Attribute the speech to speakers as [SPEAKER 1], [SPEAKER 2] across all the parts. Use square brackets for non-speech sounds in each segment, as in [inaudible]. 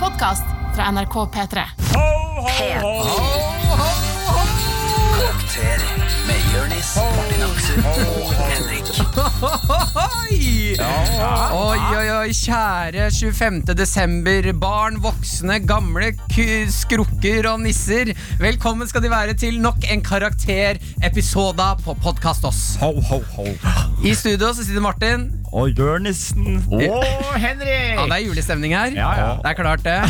[SPEAKER 1] podkast fra NRK P3.
[SPEAKER 2] Karakter med Jørnis, Martin Aksel og Henrik.
[SPEAKER 3] Oi! Oi, oi, oi, kjære 25. desember. Barn, voksne, gamle, k skrukker og nisser. Velkommen skal de være til nok en karakterepisode på Podkast oss.
[SPEAKER 4] Ho, ho, ho.
[SPEAKER 3] I studio så sitter Martin.
[SPEAKER 4] Og Jørnissen. Og Henrik.
[SPEAKER 3] Ja, det er julestemning her.
[SPEAKER 4] Ja, ja.
[SPEAKER 3] Det er klart, det.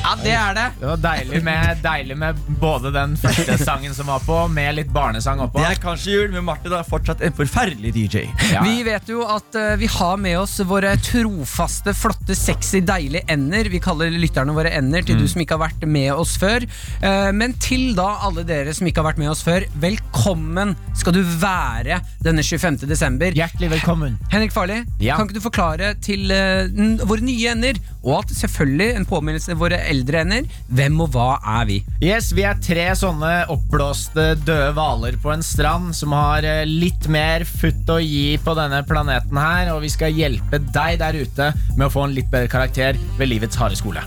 [SPEAKER 3] Ja, det er det.
[SPEAKER 5] Det var deilig med, deilig med både den første sangen som var på, med litt barnesang oppå.
[SPEAKER 4] Det er kanskje jul, men Martin er fortsatt en forferdelig DJ.
[SPEAKER 5] Ja.
[SPEAKER 3] Vi vet jo at eh, vi har med oss våre trofaste, flotte, sexy, deilige ender. Vi kaller lytterne våre ender
[SPEAKER 5] Mm.
[SPEAKER 3] til du som ikke har vært med oss før. Eh, men til da alle dere som ikke har vært med oss før, velkommen skal du være denne 25. desember.
[SPEAKER 5] Hjertelig velkommen.
[SPEAKER 3] Henrik Farli,
[SPEAKER 5] Ja.
[SPEAKER 3] kan ikke du forklare til eh, n- våre nye ender, og at selvfølgelig en påminnelse til våre eldre ender, hvem og hva er vi?
[SPEAKER 5] Yes, Vi er tre sånne oppblåste døde hvaler på en strand som har eh, litt mer futt å gi på denne planeten her, og vi skal hjelpe deg der ute med å få en litt bedre karakter ved livets harde skole.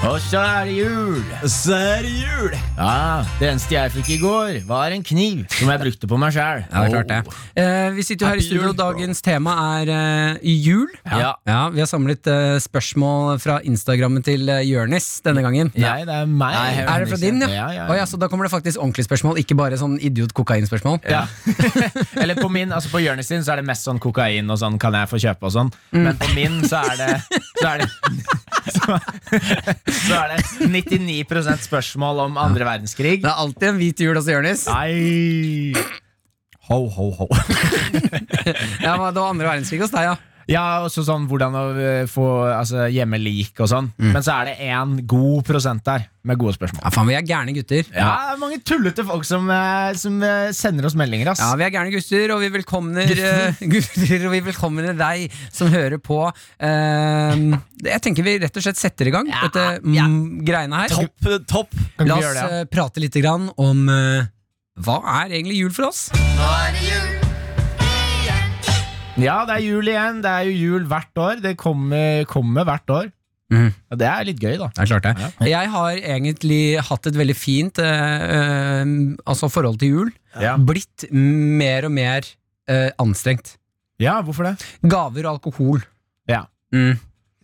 [SPEAKER 5] Og så er det jul.
[SPEAKER 4] Så er det jul.
[SPEAKER 5] Ja, Det eneste jeg fikk i går, var en kniv som jeg brukte på meg sjæl.
[SPEAKER 3] Ja, det er klart det. Eh, vi sitter jo her i
[SPEAKER 4] Happy
[SPEAKER 3] studio,
[SPEAKER 4] jul,
[SPEAKER 3] og dagens tema er eh, jul.
[SPEAKER 5] Ja.
[SPEAKER 3] Vi har samlet eh, spørsmål fra Instagrammen til uh, Jørnis denne gangen.
[SPEAKER 5] Nei, det er meg.
[SPEAKER 3] Er det fra din, ja?
[SPEAKER 5] Ja, ja, ja.
[SPEAKER 3] Å ja, så da kommer det faktisk ordentlige spørsmål, ikke bare sånn idiot-kokainspørsmål.
[SPEAKER 5] Ja. [laughs] Eller på min, altså på Jonis sin så er det mest sånn kokain og sånn kan jeg få kjøpe og sånn.
[SPEAKER 3] Mm.
[SPEAKER 5] Men på min så er det Så er det, [laughs] så, så er det 99 spørsmål om andre verdenskrig.
[SPEAKER 3] Det er alltid en hvit jul hos Jørnis.
[SPEAKER 5] Nei
[SPEAKER 4] Ho, ho, ho.
[SPEAKER 3] Ja, men det var andre verdenskrig hos deg, ja.
[SPEAKER 5] Ja, også sånn hvordan å eh, få altså, gjemme lik og sånn.
[SPEAKER 3] Mm.
[SPEAKER 5] Men så er det én god prosent der med gode spørsmål.
[SPEAKER 3] Ja, faen, vi er gærne gutter.
[SPEAKER 5] Ja, det er mange tullete folk som, eh, som eh, sender oss meldinger, ass.
[SPEAKER 3] Ja, vi er gærne gutter, og vi velkomner eh, [laughs] gutter, og vi velkomner deg som hører på. Eh, jeg tenker vi rett og slett setter i gang dette mm, greiene her.
[SPEAKER 4] Topp, eh, topp.
[SPEAKER 3] La
[SPEAKER 5] Kan ikke vi
[SPEAKER 3] oss
[SPEAKER 5] gjøre det?
[SPEAKER 3] eh, prate litt grann om eh, hva er egentlig jul for oss?
[SPEAKER 5] Ja, det er jul igjen. Det er jo jul hvert år. Det kommer, kommer hvert år.
[SPEAKER 3] Mhm.
[SPEAKER 5] Ja, det er litt gøy, da.
[SPEAKER 3] Det er klart det. Jeg har egentlig hatt et veldig fint eh, eh, altså forhold til jul.
[SPEAKER 5] Ja.
[SPEAKER 3] Blitt mer og mer eh, anstrengt.
[SPEAKER 5] Ja, hvorfor det?
[SPEAKER 3] Gaver og alkohol.
[SPEAKER 5] Ja.
[SPEAKER 3] Mm.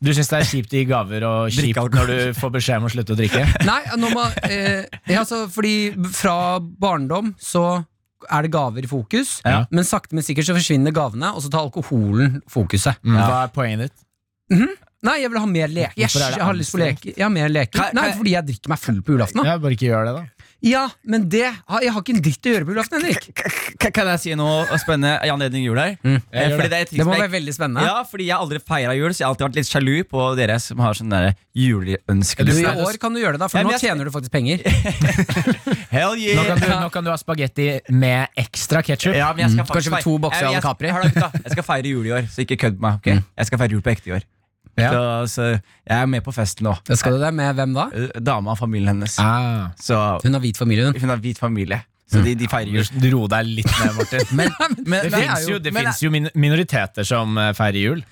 [SPEAKER 5] Du syns det er kjipt å gi gaver og
[SPEAKER 4] Drikke
[SPEAKER 5] kjipt
[SPEAKER 4] alkohol.
[SPEAKER 5] når du får beskjed om å slutte å drikke?
[SPEAKER 3] Nei, nå må, eh, ja, altså, fordi fra barndom så er det gaver i fokus,
[SPEAKER 5] Ja.
[SPEAKER 3] men sakte, men sikkert så forsvinner gavene, og så tar alkoholen fokuset.
[SPEAKER 5] Hva er poenget ditt?
[SPEAKER 3] Nei, jeg vil ha mer leker. Jeg,
[SPEAKER 5] Hvorfor er det
[SPEAKER 3] har lyst på leker. Ja, mer leker.
[SPEAKER 4] Kan-
[SPEAKER 3] Nei,
[SPEAKER 4] kan-
[SPEAKER 3] fordi jeg drikker meg full på julaften. da.
[SPEAKER 5] Ja, bare ikke gjør det, da.
[SPEAKER 3] Ja, men det har, Jeg har ikke en dritt å gjøre på julaften, Henrik.
[SPEAKER 4] K- Kan jeg si noe spennende i anledning jul her? Eh,
[SPEAKER 5] gjør
[SPEAKER 4] Fordi det er et triks
[SPEAKER 3] Mm. Det
[SPEAKER 4] som
[SPEAKER 3] må
[SPEAKER 4] jeg-
[SPEAKER 3] være veldig spennende.
[SPEAKER 4] ja, fordi jeg har aldri feira jul, så jeg har alltid vært litt sjalu på dere som har sånn der
[SPEAKER 3] Du,
[SPEAKER 4] juleønskeliste.
[SPEAKER 3] I år kan du gjøre det, da for
[SPEAKER 4] Ja, men
[SPEAKER 3] nå
[SPEAKER 4] jeg-
[SPEAKER 3] tjener du faktisk penger.
[SPEAKER 4] Hell
[SPEAKER 5] Nå
[SPEAKER 4] yeah!
[SPEAKER 5] kan du, nå kan du ha spagetti med ekstra ketsjup.
[SPEAKER 4] Ja, men jeg skal
[SPEAKER 3] Mm. Kanskje med
[SPEAKER 4] feire-
[SPEAKER 3] to bokser
[SPEAKER 4] Jeg- jeg-
[SPEAKER 3] Alan Capri. Mm.
[SPEAKER 4] Hør da, gutta. Jeg skal feire jul i år, så ikke kødd med meg. ok? Jeg skal feire jul på ekte i år.
[SPEAKER 5] Ja.
[SPEAKER 4] Så, så jeg er med på festen nå.
[SPEAKER 3] Da skal du det med hvem da?
[SPEAKER 4] Eh, Dama og familien hennes.
[SPEAKER 5] Ah.
[SPEAKER 4] Så
[SPEAKER 3] Hun har hvit
[SPEAKER 4] [laughs]
[SPEAKER 3] familie, hun.
[SPEAKER 4] hun har hvit familie, så de, de feirer jul.
[SPEAKER 5] Du ro deg litt ned, Martin.
[SPEAKER 3] Men
[SPEAKER 5] [laughs] det
[SPEAKER 3] det er
[SPEAKER 5] fins jo, det
[SPEAKER 4] men-
[SPEAKER 5] finnes jo min minoriteter som eh, feirer jul.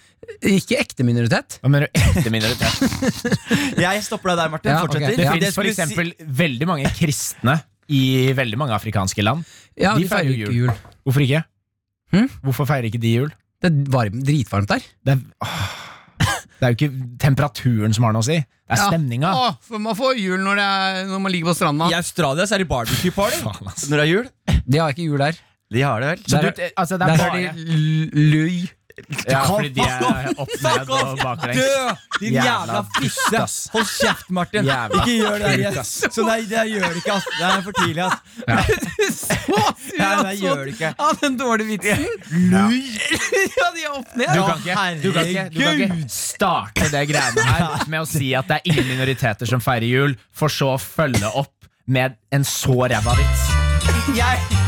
[SPEAKER 3] Ikke ekte minoritet.
[SPEAKER 5] Hva mener du [laughs]
[SPEAKER 4] [laughs]
[SPEAKER 5] ekte minoritet?
[SPEAKER 4] Jeg stopper deg der, Martin.
[SPEAKER 3] Ja, ok.
[SPEAKER 4] Fortsetter.
[SPEAKER 3] Det
[SPEAKER 5] Det
[SPEAKER 3] Ja,
[SPEAKER 4] Fordi jeg
[SPEAKER 5] finnes for
[SPEAKER 4] skulle si-
[SPEAKER 5] eksempel veldig mange kristne i veldig mange afrikanske land.
[SPEAKER 3] Ja,
[SPEAKER 5] De
[SPEAKER 3] De feirer jo ikke jul.
[SPEAKER 5] Hvorfor ikke?
[SPEAKER 3] Hm?
[SPEAKER 5] Hvorfor feirer ikke de jul?
[SPEAKER 3] Det er varm, dritvarmt der.
[SPEAKER 5] Det er, åh, det er jo ikke temperaturen som har noe å si. Det er stemninga.
[SPEAKER 3] for man får jul når, man ligger på stranda.
[SPEAKER 4] I Australia så er det barbecue party
[SPEAKER 5] Faen, ass.
[SPEAKER 4] når det er jul.
[SPEAKER 3] De har ikke jul der.
[SPEAKER 4] De har det vel?
[SPEAKER 5] Så
[SPEAKER 3] Der-
[SPEAKER 5] du, altså, det
[SPEAKER 3] Der
[SPEAKER 5] er
[SPEAKER 3] har
[SPEAKER 5] bare
[SPEAKER 3] de l- løy. [laughs]
[SPEAKER 5] ja,
[SPEAKER 4] Fuck
[SPEAKER 5] Fordi de er
[SPEAKER 4] off!
[SPEAKER 5] opp
[SPEAKER 4] Fuck
[SPEAKER 5] ned
[SPEAKER 4] off!
[SPEAKER 5] og baklengs.
[SPEAKER 4] Dø! Din jævla,
[SPEAKER 5] Jævla
[SPEAKER 4] fitte!
[SPEAKER 5] ass.
[SPEAKER 4] Hold kjeft, Martin.
[SPEAKER 5] Jævla
[SPEAKER 4] ikke gjør det der
[SPEAKER 5] bruk,
[SPEAKER 4] igjen.
[SPEAKER 5] ass.
[SPEAKER 4] Så nei, det gjør det ikke, ass. Det er for tidlig, ass. Nei, nei, gjør det ikke.
[SPEAKER 3] sånn- Ja, den dårlige vitsen. Løy! [laughs] ja, de er opp ned.
[SPEAKER 5] Du kan, ikke, du, kan ikke, du kan ikke starte det greiene her med å si at det er ingen minoriteter som feirer jul, for så å følge opp med en så ræva vits.
[SPEAKER 4] Jeg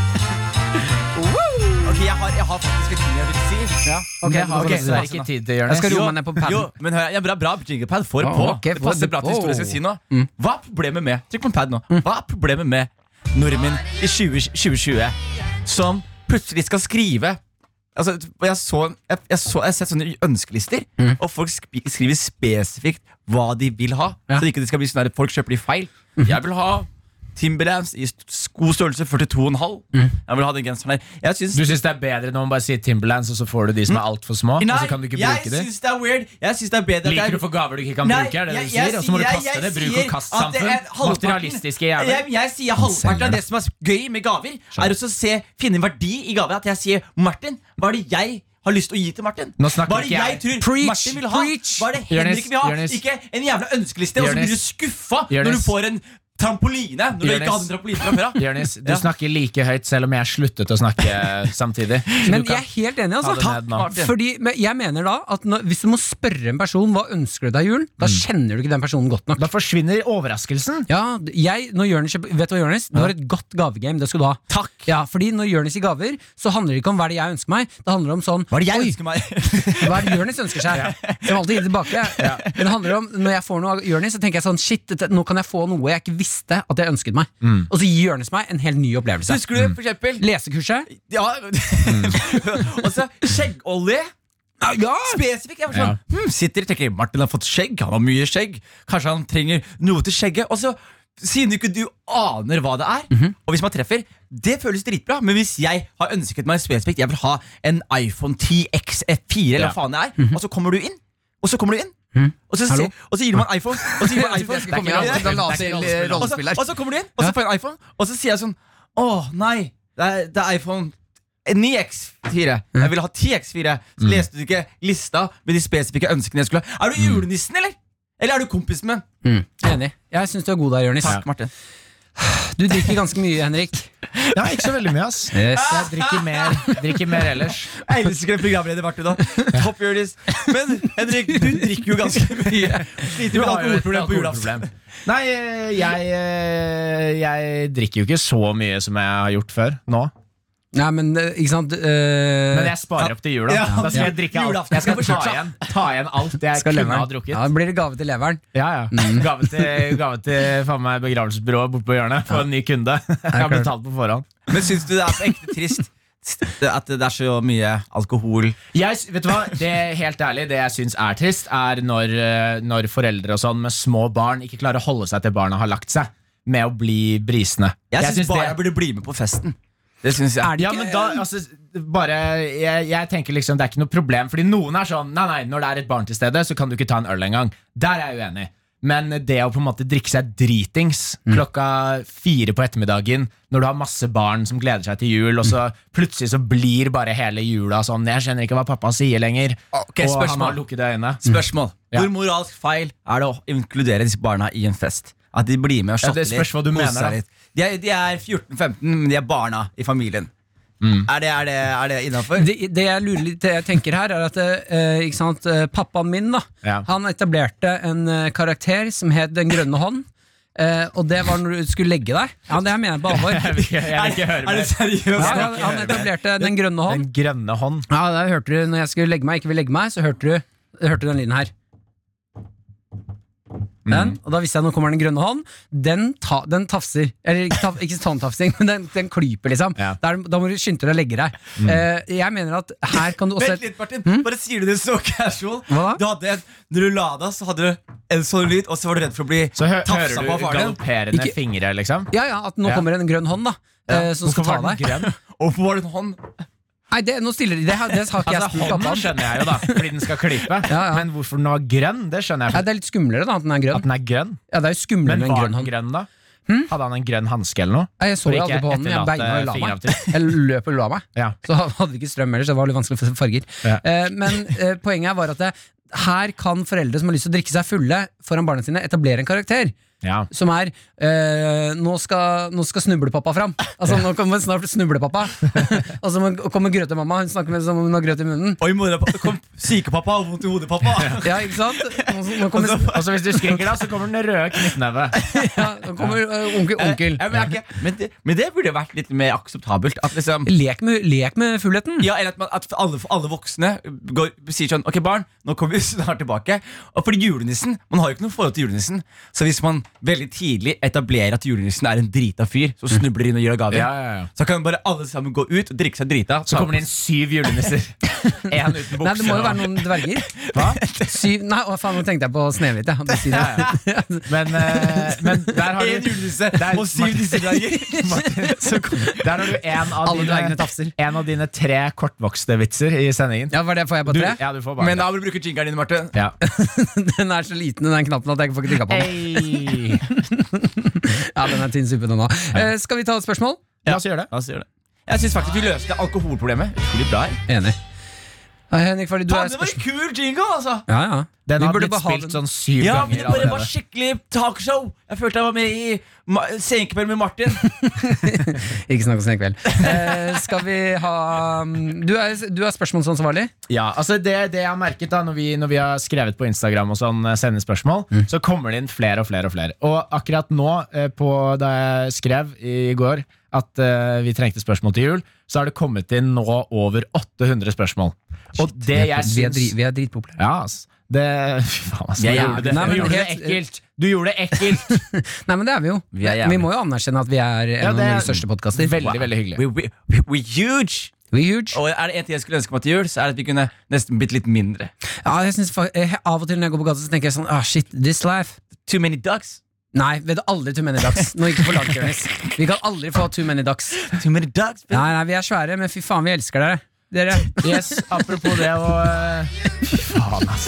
[SPEAKER 4] Ok, jeg har, jeg har faktisk en ting jeg vil si.
[SPEAKER 3] Ok,
[SPEAKER 5] det har
[SPEAKER 3] ok,
[SPEAKER 5] vi dessverre
[SPEAKER 3] så-
[SPEAKER 5] ikke tid til,
[SPEAKER 3] Jeg skal roe
[SPEAKER 5] Jonis.
[SPEAKER 4] Jo,
[SPEAKER 3] meg ned på padden.
[SPEAKER 4] Jo, men hør, ja, bra, bra jinglepad. Får
[SPEAKER 3] Ja,
[SPEAKER 4] på.
[SPEAKER 3] ok,
[SPEAKER 4] det
[SPEAKER 3] får
[SPEAKER 4] passer
[SPEAKER 3] det Mm.
[SPEAKER 4] bra til
[SPEAKER 3] på.
[SPEAKER 4] historien jeg skal si nå. Hva er problemet med Trykk på en pad nå. Hva er problemet med nordmenn i 20, 2020 som plutselig skal skrive altså, jeg, så, jeg, jeg, så, jeg har sett sånne ønskelister,
[SPEAKER 3] Mm.
[SPEAKER 4] og folk skri- skriver spesifikt hva de vil ha.
[SPEAKER 3] Ja.
[SPEAKER 4] Så ikke det skal bli sånn der, folk kjøper de feil. Jeg vil ha Timberlands i st- skostørrelse 42,5.
[SPEAKER 3] Mm.
[SPEAKER 4] Jeg vil ha den genseren der. Jeg synes,
[SPEAKER 5] Du syns det er bedre når man bare sier Timberlands, og så får du de som er altfor små? og
[SPEAKER 3] Altså,
[SPEAKER 5] så kan du ikke
[SPEAKER 4] jeg
[SPEAKER 5] bruke de?
[SPEAKER 4] syns det er weird. Jeg syns det er bedre at det
[SPEAKER 5] Liker
[SPEAKER 4] er
[SPEAKER 5] du å få gaver du ikke kan bruke? er det det du sier? Og så må du kaste det. Bruk og kast-samfunn. Materialistiske
[SPEAKER 4] eh, Jeg,
[SPEAKER 5] jævler.
[SPEAKER 4] jeg sier halvparten
[SPEAKER 5] selger
[SPEAKER 4] av
[SPEAKER 5] det.
[SPEAKER 4] det som er gøy med gaver, er også å se, finne en verdi i gaver. At jeg sier Martin, hva er det jeg har lyst til å gi til Martin?
[SPEAKER 5] Nå snakker
[SPEAKER 4] hva er det
[SPEAKER 5] ikke
[SPEAKER 4] jeg,
[SPEAKER 5] jeg.
[SPEAKER 4] tror
[SPEAKER 3] Preach,
[SPEAKER 4] Martin vil ha?
[SPEAKER 3] preach.
[SPEAKER 4] Hva er det
[SPEAKER 5] Jonis,
[SPEAKER 4] Henrik vil ha?
[SPEAKER 5] Jonis.
[SPEAKER 4] Ikke en jævla ønskeliste, og så blir du
[SPEAKER 5] Jonis.
[SPEAKER 4] skuffa når
[SPEAKER 5] Jonis.
[SPEAKER 4] du får en trampoline. Når du
[SPEAKER 5] Jonis.
[SPEAKER 4] ikke hadde en trampoline fra før av.
[SPEAKER 5] Jonis, du
[SPEAKER 4] Ja.
[SPEAKER 5] snakker like høyt selv om jeg sluttet å snakke eh, samtidig. Så
[SPEAKER 3] Men jeg
[SPEAKER 5] du kan-
[SPEAKER 3] er helt enig. Altså.
[SPEAKER 5] Ha det ned nå.
[SPEAKER 3] Takk, Martin. Fordi, men jeg mener da at når, Hvis du må spørre en person hva ønsker du deg i julen, da
[SPEAKER 4] Mm.
[SPEAKER 3] kjenner du ikke den personen godt nok.
[SPEAKER 5] Da forsvinner overraskelsen.
[SPEAKER 3] Ja, jeg, når Jørnes, kjøper- vet du hva, Jørnes? Det var et godt gavegame. Det skal du ha. Takk. Ja, fordi når Jørnes gir gaver, så handler det ikke om hva er det jeg ønsker meg. Det handler om sånn
[SPEAKER 4] Hva er det jeg
[SPEAKER 3] Oi,
[SPEAKER 4] ønsker meg? [laughs]
[SPEAKER 3] hva er det Jørnes ønsker seg? Som alltid gir det tilbake. Men det handler om, når jeg får noe av Jørnes, så tenker jeg sånn shit, dette, nå kan jeg få noe jeg ikke visste at jeg ønsket meg.
[SPEAKER 4] Mm.
[SPEAKER 3] Og så gir Jørnes meg en helt ny opplevelse.
[SPEAKER 4] Husker du for eksempel
[SPEAKER 3] Lesekurset?
[SPEAKER 4] Ja. [laughs] og så skjeggolje. Spesifikt. Jeg var sånn, hmm, sitter og tenker Martin har fått skjegg. Han har mye skjegg. Kanskje han trenger noe til skjegget. Og så siden ikke du aner hva det er, og hvis man treffer Det føles dritbra, men hvis jeg har ønsket meg spesifikt Jeg vil ha en iPhone 10 XF4, eller
[SPEAKER 5] Ja.
[SPEAKER 4] hva faen det er, og så kommer du inn, og så kommer du inn, og, så,
[SPEAKER 3] Hallo?
[SPEAKER 4] sier- og så gir du meg en iPhone, og så gir du meg en iPhone
[SPEAKER 3] Jeg trodde jeg skulle komme igjen, så da la jeg til
[SPEAKER 4] og så, og så kommer du inn, og så får jeg en iPhone, og så sier jeg sånn Å, nei, det er, det er iPhone 9X4. Jeg ville ha 10X4. Så leste du ikke lista med de spesifikke ønskene jeg skulle ha. Er du julenissen, eller? Eller er du kompisen min?
[SPEAKER 3] Mm. Enig. Jeg syns du er god der, Jørnis.
[SPEAKER 4] Takk, Martin.
[SPEAKER 3] Du drikker ganske mye, Henrik.
[SPEAKER 5] Ja, ikke så veldig mye, ass. Jeg drikker mer, drikker mer ellers.
[SPEAKER 4] Jeg elsker en programleder, Martin. da Topp Jonis. Men Henrik, du drikker jo ganske mye. Sliter med alkoholproblem på julaften.
[SPEAKER 5] Nei, eh, jeg, eh, jeg drikker jo ikke så mye som jeg har gjort før nå.
[SPEAKER 3] Nei, men eh, ikke sant eh,
[SPEAKER 5] Men jeg sparer opp til jula.
[SPEAKER 4] Ja.
[SPEAKER 5] Da skal jeg drikke alt.
[SPEAKER 4] Julaften
[SPEAKER 5] Jeg skal
[SPEAKER 4] skal
[SPEAKER 5] ta
[SPEAKER 4] fortsatt.
[SPEAKER 5] igjen, ta igjen alt jeg
[SPEAKER 3] skal
[SPEAKER 5] kunne ha
[SPEAKER 3] leveren-
[SPEAKER 5] drukket.
[SPEAKER 3] Ja, da blir det gave til leveren.
[SPEAKER 5] Ja, ja.
[SPEAKER 4] Mm.
[SPEAKER 5] [laughs] Gave til, gave til faen meg begravelsesbyrået borte på hjørnet for en ny kunde. [laughs] Jeg har betalt på forhånd.
[SPEAKER 4] Men syns du det er på ekte trist at det er så mye alkohol
[SPEAKER 5] Jeg, s- vet du hva? Det Helt ærlig, det jeg syns er trist, er når, eh, når foreldre og sånn med små barn ikke klarer å holde seg til barna har lagt seg, med å bli brisne.
[SPEAKER 4] Jeg syns
[SPEAKER 5] synes
[SPEAKER 4] bare
[SPEAKER 5] det-
[SPEAKER 4] jeg burde bli med på festen. Det synes jeg.
[SPEAKER 3] Er det
[SPEAKER 5] Ja,
[SPEAKER 3] ikke
[SPEAKER 5] men da, altså, bare, jeg, jeg tenker liksom, det er ikke noe problem Fordi noen er sånn, nei, nei, når det er et barn til stede Så kan du ikke ta en øl engang Der er jeg uenig Men det å på en måte drikke seg dritings
[SPEAKER 4] Mm.
[SPEAKER 5] Klokka fire på ettermiddagen Når du har masse barn som gleder seg til jul Og
[SPEAKER 4] Mm.
[SPEAKER 5] så plutselig så blir bare hele jula sånn Jeg skjønner ikke hva pappa sier lenger
[SPEAKER 4] Ok,
[SPEAKER 5] Og han
[SPEAKER 4] spørsmål. Mm.
[SPEAKER 5] har lukket øynene
[SPEAKER 4] Spørsmål.
[SPEAKER 5] Mm. Ja.
[SPEAKER 4] Hvor moralsk feil er det å inkludere disse barna i en fest? At de blir med og
[SPEAKER 5] Ja,
[SPEAKER 4] shotter
[SPEAKER 5] det spørs hva du
[SPEAKER 4] litt, koser
[SPEAKER 5] mener, da.
[SPEAKER 4] seg litt. De er, de er 14-15, men de er barna i familien.
[SPEAKER 5] Mm.
[SPEAKER 4] Er det, er det, er det innafor?
[SPEAKER 3] Det, det jeg lurer litt det jeg tenker her, er at eh, ikke sant, eh, pappaen min da
[SPEAKER 5] Ja.
[SPEAKER 3] Han etablerte en eh, karakter som het Den grønne hånd. eh, og det var når du skulle legge deg. Ja, det her mener jeg på
[SPEAKER 5] [laughs] [laughs] Jeg
[SPEAKER 3] alvor.
[SPEAKER 5] vil ikke, jeg vil ikke høre
[SPEAKER 4] Er det
[SPEAKER 5] mer
[SPEAKER 3] Ja,
[SPEAKER 4] seriøst?
[SPEAKER 3] han- han etablerte Den grønne hånd.
[SPEAKER 5] Den grønne hånd
[SPEAKER 3] Ja, da hørte du når jeg skulle legge meg, ikke vil legge meg, så hørte du, hørte du den lyden her.
[SPEAKER 5] Mm.
[SPEAKER 3] Den, og da visste jeg nå kommer den grønne hånd. Den, ta, den tafser. Eller ikke, taf, ikke tanntafsing, [laughs] men den, den klyper, liksom.
[SPEAKER 5] Ja. Mm.
[SPEAKER 3] Der, da må du skynde deg å legge deg. Eh, jeg mener at her kan du også
[SPEAKER 4] Vent litt, Martin. Bare sier du det så casual.
[SPEAKER 3] Hva da?
[SPEAKER 4] Du hadde en, når du la deg, så hadde du en sånn lyd, og så var du redd for å bli
[SPEAKER 5] Så hø hører
[SPEAKER 4] tafsa
[SPEAKER 5] du
[SPEAKER 4] på av faren din.
[SPEAKER 5] galopperende
[SPEAKER 3] Ikke-
[SPEAKER 5] fingre liksom
[SPEAKER 3] Ja, ja, at nå
[SPEAKER 5] Ja.
[SPEAKER 3] kommer en grønn hånd, da. eh, som skal ta
[SPEAKER 5] Hvorfor var den
[SPEAKER 3] deg.
[SPEAKER 5] grønn?
[SPEAKER 4] Hvorfor var det en hånd?
[SPEAKER 3] Nei, det, nå stiller de det. her, Det har ikke jeg
[SPEAKER 5] Altså,
[SPEAKER 3] spurt pappa
[SPEAKER 5] Hånden
[SPEAKER 3] om.
[SPEAKER 5] skjønner jeg jo, da, fordi den skal klype.
[SPEAKER 3] [laughs] Ja, ja.
[SPEAKER 5] Men hvorfor den var grønn, det skjønner
[SPEAKER 3] Nei,
[SPEAKER 5] jeg.
[SPEAKER 3] det er litt skumlere da, at den er
[SPEAKER 5] At
[SPEAKER 3] grønn.
[SPEAKER 5] den er grønn.
[SPEAKER 3] Ja, det er jo skumlere med
[SPEAKER 5] Men
[SPEAKER 3] en
[SPEAKER 5] var
[SPEAKER 3] grønn
[SPEAKER 5] den
[SPEAKER 3] hånd. Hmm?
[SPEAKER 5] grønn, da? Hadde han en grønn hanske eller noe?
[SPEAKER 3] Nei, Jeg så
[SPEAKER 5] For
[SPEAKER 3] jo
[SPEAKER 5] ikke
[SPEAKER 3] aldri på hånden. Jeg
[SPEAKER 5] etterlate
[SPEAKER 3] beina og la meg.
[SPEAKER 5] fingeravtrykk.
[SPEAKER 3] Jeg løp og la meg.
[SPEAKER 5] Ja.
[SPEAKER 3] Så [laughs] hadde vi ikke strøm ellers, så det var litt vanskelig å få farger.
[SPEAKER 5] Ja.
[SPEAKER 3] Eh, men eh, poenget var at det, her kan foreldre som har lyst til å drikke seg fulle foran barna sine, etablere en karakter.
[SPEAKER 5] Ja.
[SPEAKER 3] Som er eh, nå, skal, 'Nå skal snublepappa fram'. Altså Nå kommer snart snublepappa. [laughs] og så må- kommer grøtemamma. Hun snakker med som om hun har grøt i munnen.
[SPEAKER 4] Oi, mora, kom, sykepappa og vondt i hodet, pappa.
[SPEAKER 3] Ja, ikke sant? Nå, nå kommer,
[SPEAKER 5] Og så hvis du skriker da, så kommer den røde knyttneve.
[SPEAKER 3] [laughs] ja, nå kommer eh, onkel. onkel.
[SPEAKER 4] Jeg, jeg, ikke, men, det, men det burde vært litt mer akseptabelt. At liksom
[SPEAKER 3] Lek med, lek med fullheten.
[SPEAKER 4] Ja, eller at, man, at alle, alle voksne går, sier [laughs] sånn Ok, barn, nå kommer vi snart tilbake. Og fordi julenissen Man har jo ikke noe forhold til julenissen. Så hvis man veldig tidlig etablerer at julenissen er en drita fyr som snubler inn og gir deg gaver.
[SPEAKER 5] Ja, ja, ja.
[SPEAKER 4] Så kan bare alle sammen gå ut og drikke seg drita.
[SPEAKER 5] Så kommer det inn syv
[SPEAKER 3] [laughs]
[SPEAKER 5] julenisser. Én uten bukse.
[SPEAKER 3] Nei, det må jo
[SPEAKER 5] og-
[SPEAKER 3] være noen dverger. Hva? Syv, nei, å faen, nå tenkte jeg på Snehvit. Ja. Du sier det.
[SPEAKER 5] men, eh, men der
[SPEAKER 3] [laughs]
[SPEAKER 5] har
[SPEAKER 4] Én
[SPEAKER 5] du
[SPEAKER 4] julenisse
[SPEAKER 5] Der-
[SPEAKER 4] og syv
[SPEAKER 5] Martin-
[SPEAKER 4] nissedager!
[SPEAKER 5] [laughs] Martin, så kom- Der har du en av,
[SPEAKER 3] Alle dvergene
[SPEAKER 5] dine,
[SPEAKER 3] tafser.
[SPEAKER 5] en av dine tre kortvokste vitser i sendingen.
[SPEAKER 3] Ja, var det får jeg på
[SPEAKER 5] Du,
[SPEAKER 3] tre?
[SPEAKER 5] ja, du får bare
[SPEAKER 4] Men da må du bruke jingeren din, Martin.
[SPEAKER 5] ja.
[SPEAKER 3] Den er så liten, den knappen, at jeg ikke får klikka på den.
[SPEAKER 5] Hey.
[SPEAKER 3] Ja, den er tynn suppe nå. nå. Eh, skal vi ta et spørsmål?
[SPEAKER 5] La oss gjøre det.
[SPEAKER 4] Ja, så gjør det. Jeg syns faktisk vi løste alkoholproblemet utrolig bra. her.
[SPEAKER 3] Enig. Ja, Henrik, fordi du
[SPEAKER 4] Faen,
[SPEAKER 3] er
[SPEAKER 4] det var en
[SPEAKER 3] spørsmål...
[SPEAKER 4] kul jingle, altså!
[SPEAKER 3] Ja, ja.
[SPEAKER 5] Den
[SPEAKER 3] Vi
[SPEAKER 5] har
[SPEAKER 3] burde
[SPEAKER 5] blitt
[SPEAKER 3] bare ha
[SPEAKER 5] spilt
[SPEAKER 3] den-
[SPEAKER 5] sånn syv
[SPEAKER 4] Ja, men
[SPEAKER 5] ganger
[SPEAKER 4] det bare var
[SPEAKER 5] allerede.
[SPEAKER 4] skikkelig talkshow. Jeg følte jeg var med i Ma- Senkveld med Martin.
[SPEAKER 3] Ikke snakk om sånn i kveld. Eh, skal vi ha mm, Du er, du er sånn spørsmålsansvarlig?
[SPEAKER 5] Ja, altså det, det jeg har merket da Når vi, når vi har skrevet på Instagram og sånn eh, sender spørsmål,
[SPEAKER 3] Mm.
[SPEAKER 5] så kommer det inn flere og flere og flere. Og akkurat nå, eh, på, da jeg skrev i går at eh, vi trengte spørsmål til jul, så har det kommet inn nå over 800 spørsmål. Og det
[SPEAKER 3] vi, er,
[SPEAKER 5] jeg
[SPEAKER 3] vi, er,
[SPEAKER 5] syns
[SPEAKER 3] dri- vi er dritpopulære.
[SPEAKER 5] Ja, ass. Det [laughs] Fy faen, ass. Du
[SPEAKER 4] Vi er
[SPEAKER 5] gjorde
[SPEAKER 4] jævlig-
[SPEAKER 5] det,
[SPEAKER 3] Nei,
[SPEAKER 5] du
[SPEAKER 3] men
[SPEAKER 5] gjorde det
[SPEAKER 3] helt-
[SPEAKER 5] ekkelt! Du gjorde det ekkelt!
[SPEAKER 3] Nei, men det er vi jo.
[SPEAKER 4] Vi er jævlig.
[SPEAKER 3] må jo anerkjenne at vi er en
[SPEAKER 5] Ja,
[SPEAKER 3] av
[SPEAKER 5] det er-
[SPEAKER 3] Norges største podkaster.
[SPEAKER 5] Veldig, veldig hyggelig.
[SPEAKER 4] We, we, we, we huge!
[SPEAKER 3] We huge.
[SPEAKER 4] Og er det en ting jeg skulle ønske meg til jul, så er det at vi kunne nesten blitt litt mindre.
[SPEAKER 3] Ja, jeg synes, fa- eh, av og til når jeg går på gata, så tenker jeg sånn ah, Shit, this life.
[SPEAKER 4] Too many ducks.
[SPEAKER 3] Nei, vet du aldri Too Many Ducks. Nå gikk det for langt, Jonis. Vi kan aldri få Too Many Ducks.
[SPEAKER 4] Too many ducks
[SPEAKER 3] Nei, nei, vi er svære, men fy faen, vi elsker dere. Dere.
[SPEAKER 5] Yes, apropos det å eh, Fy faen, ass.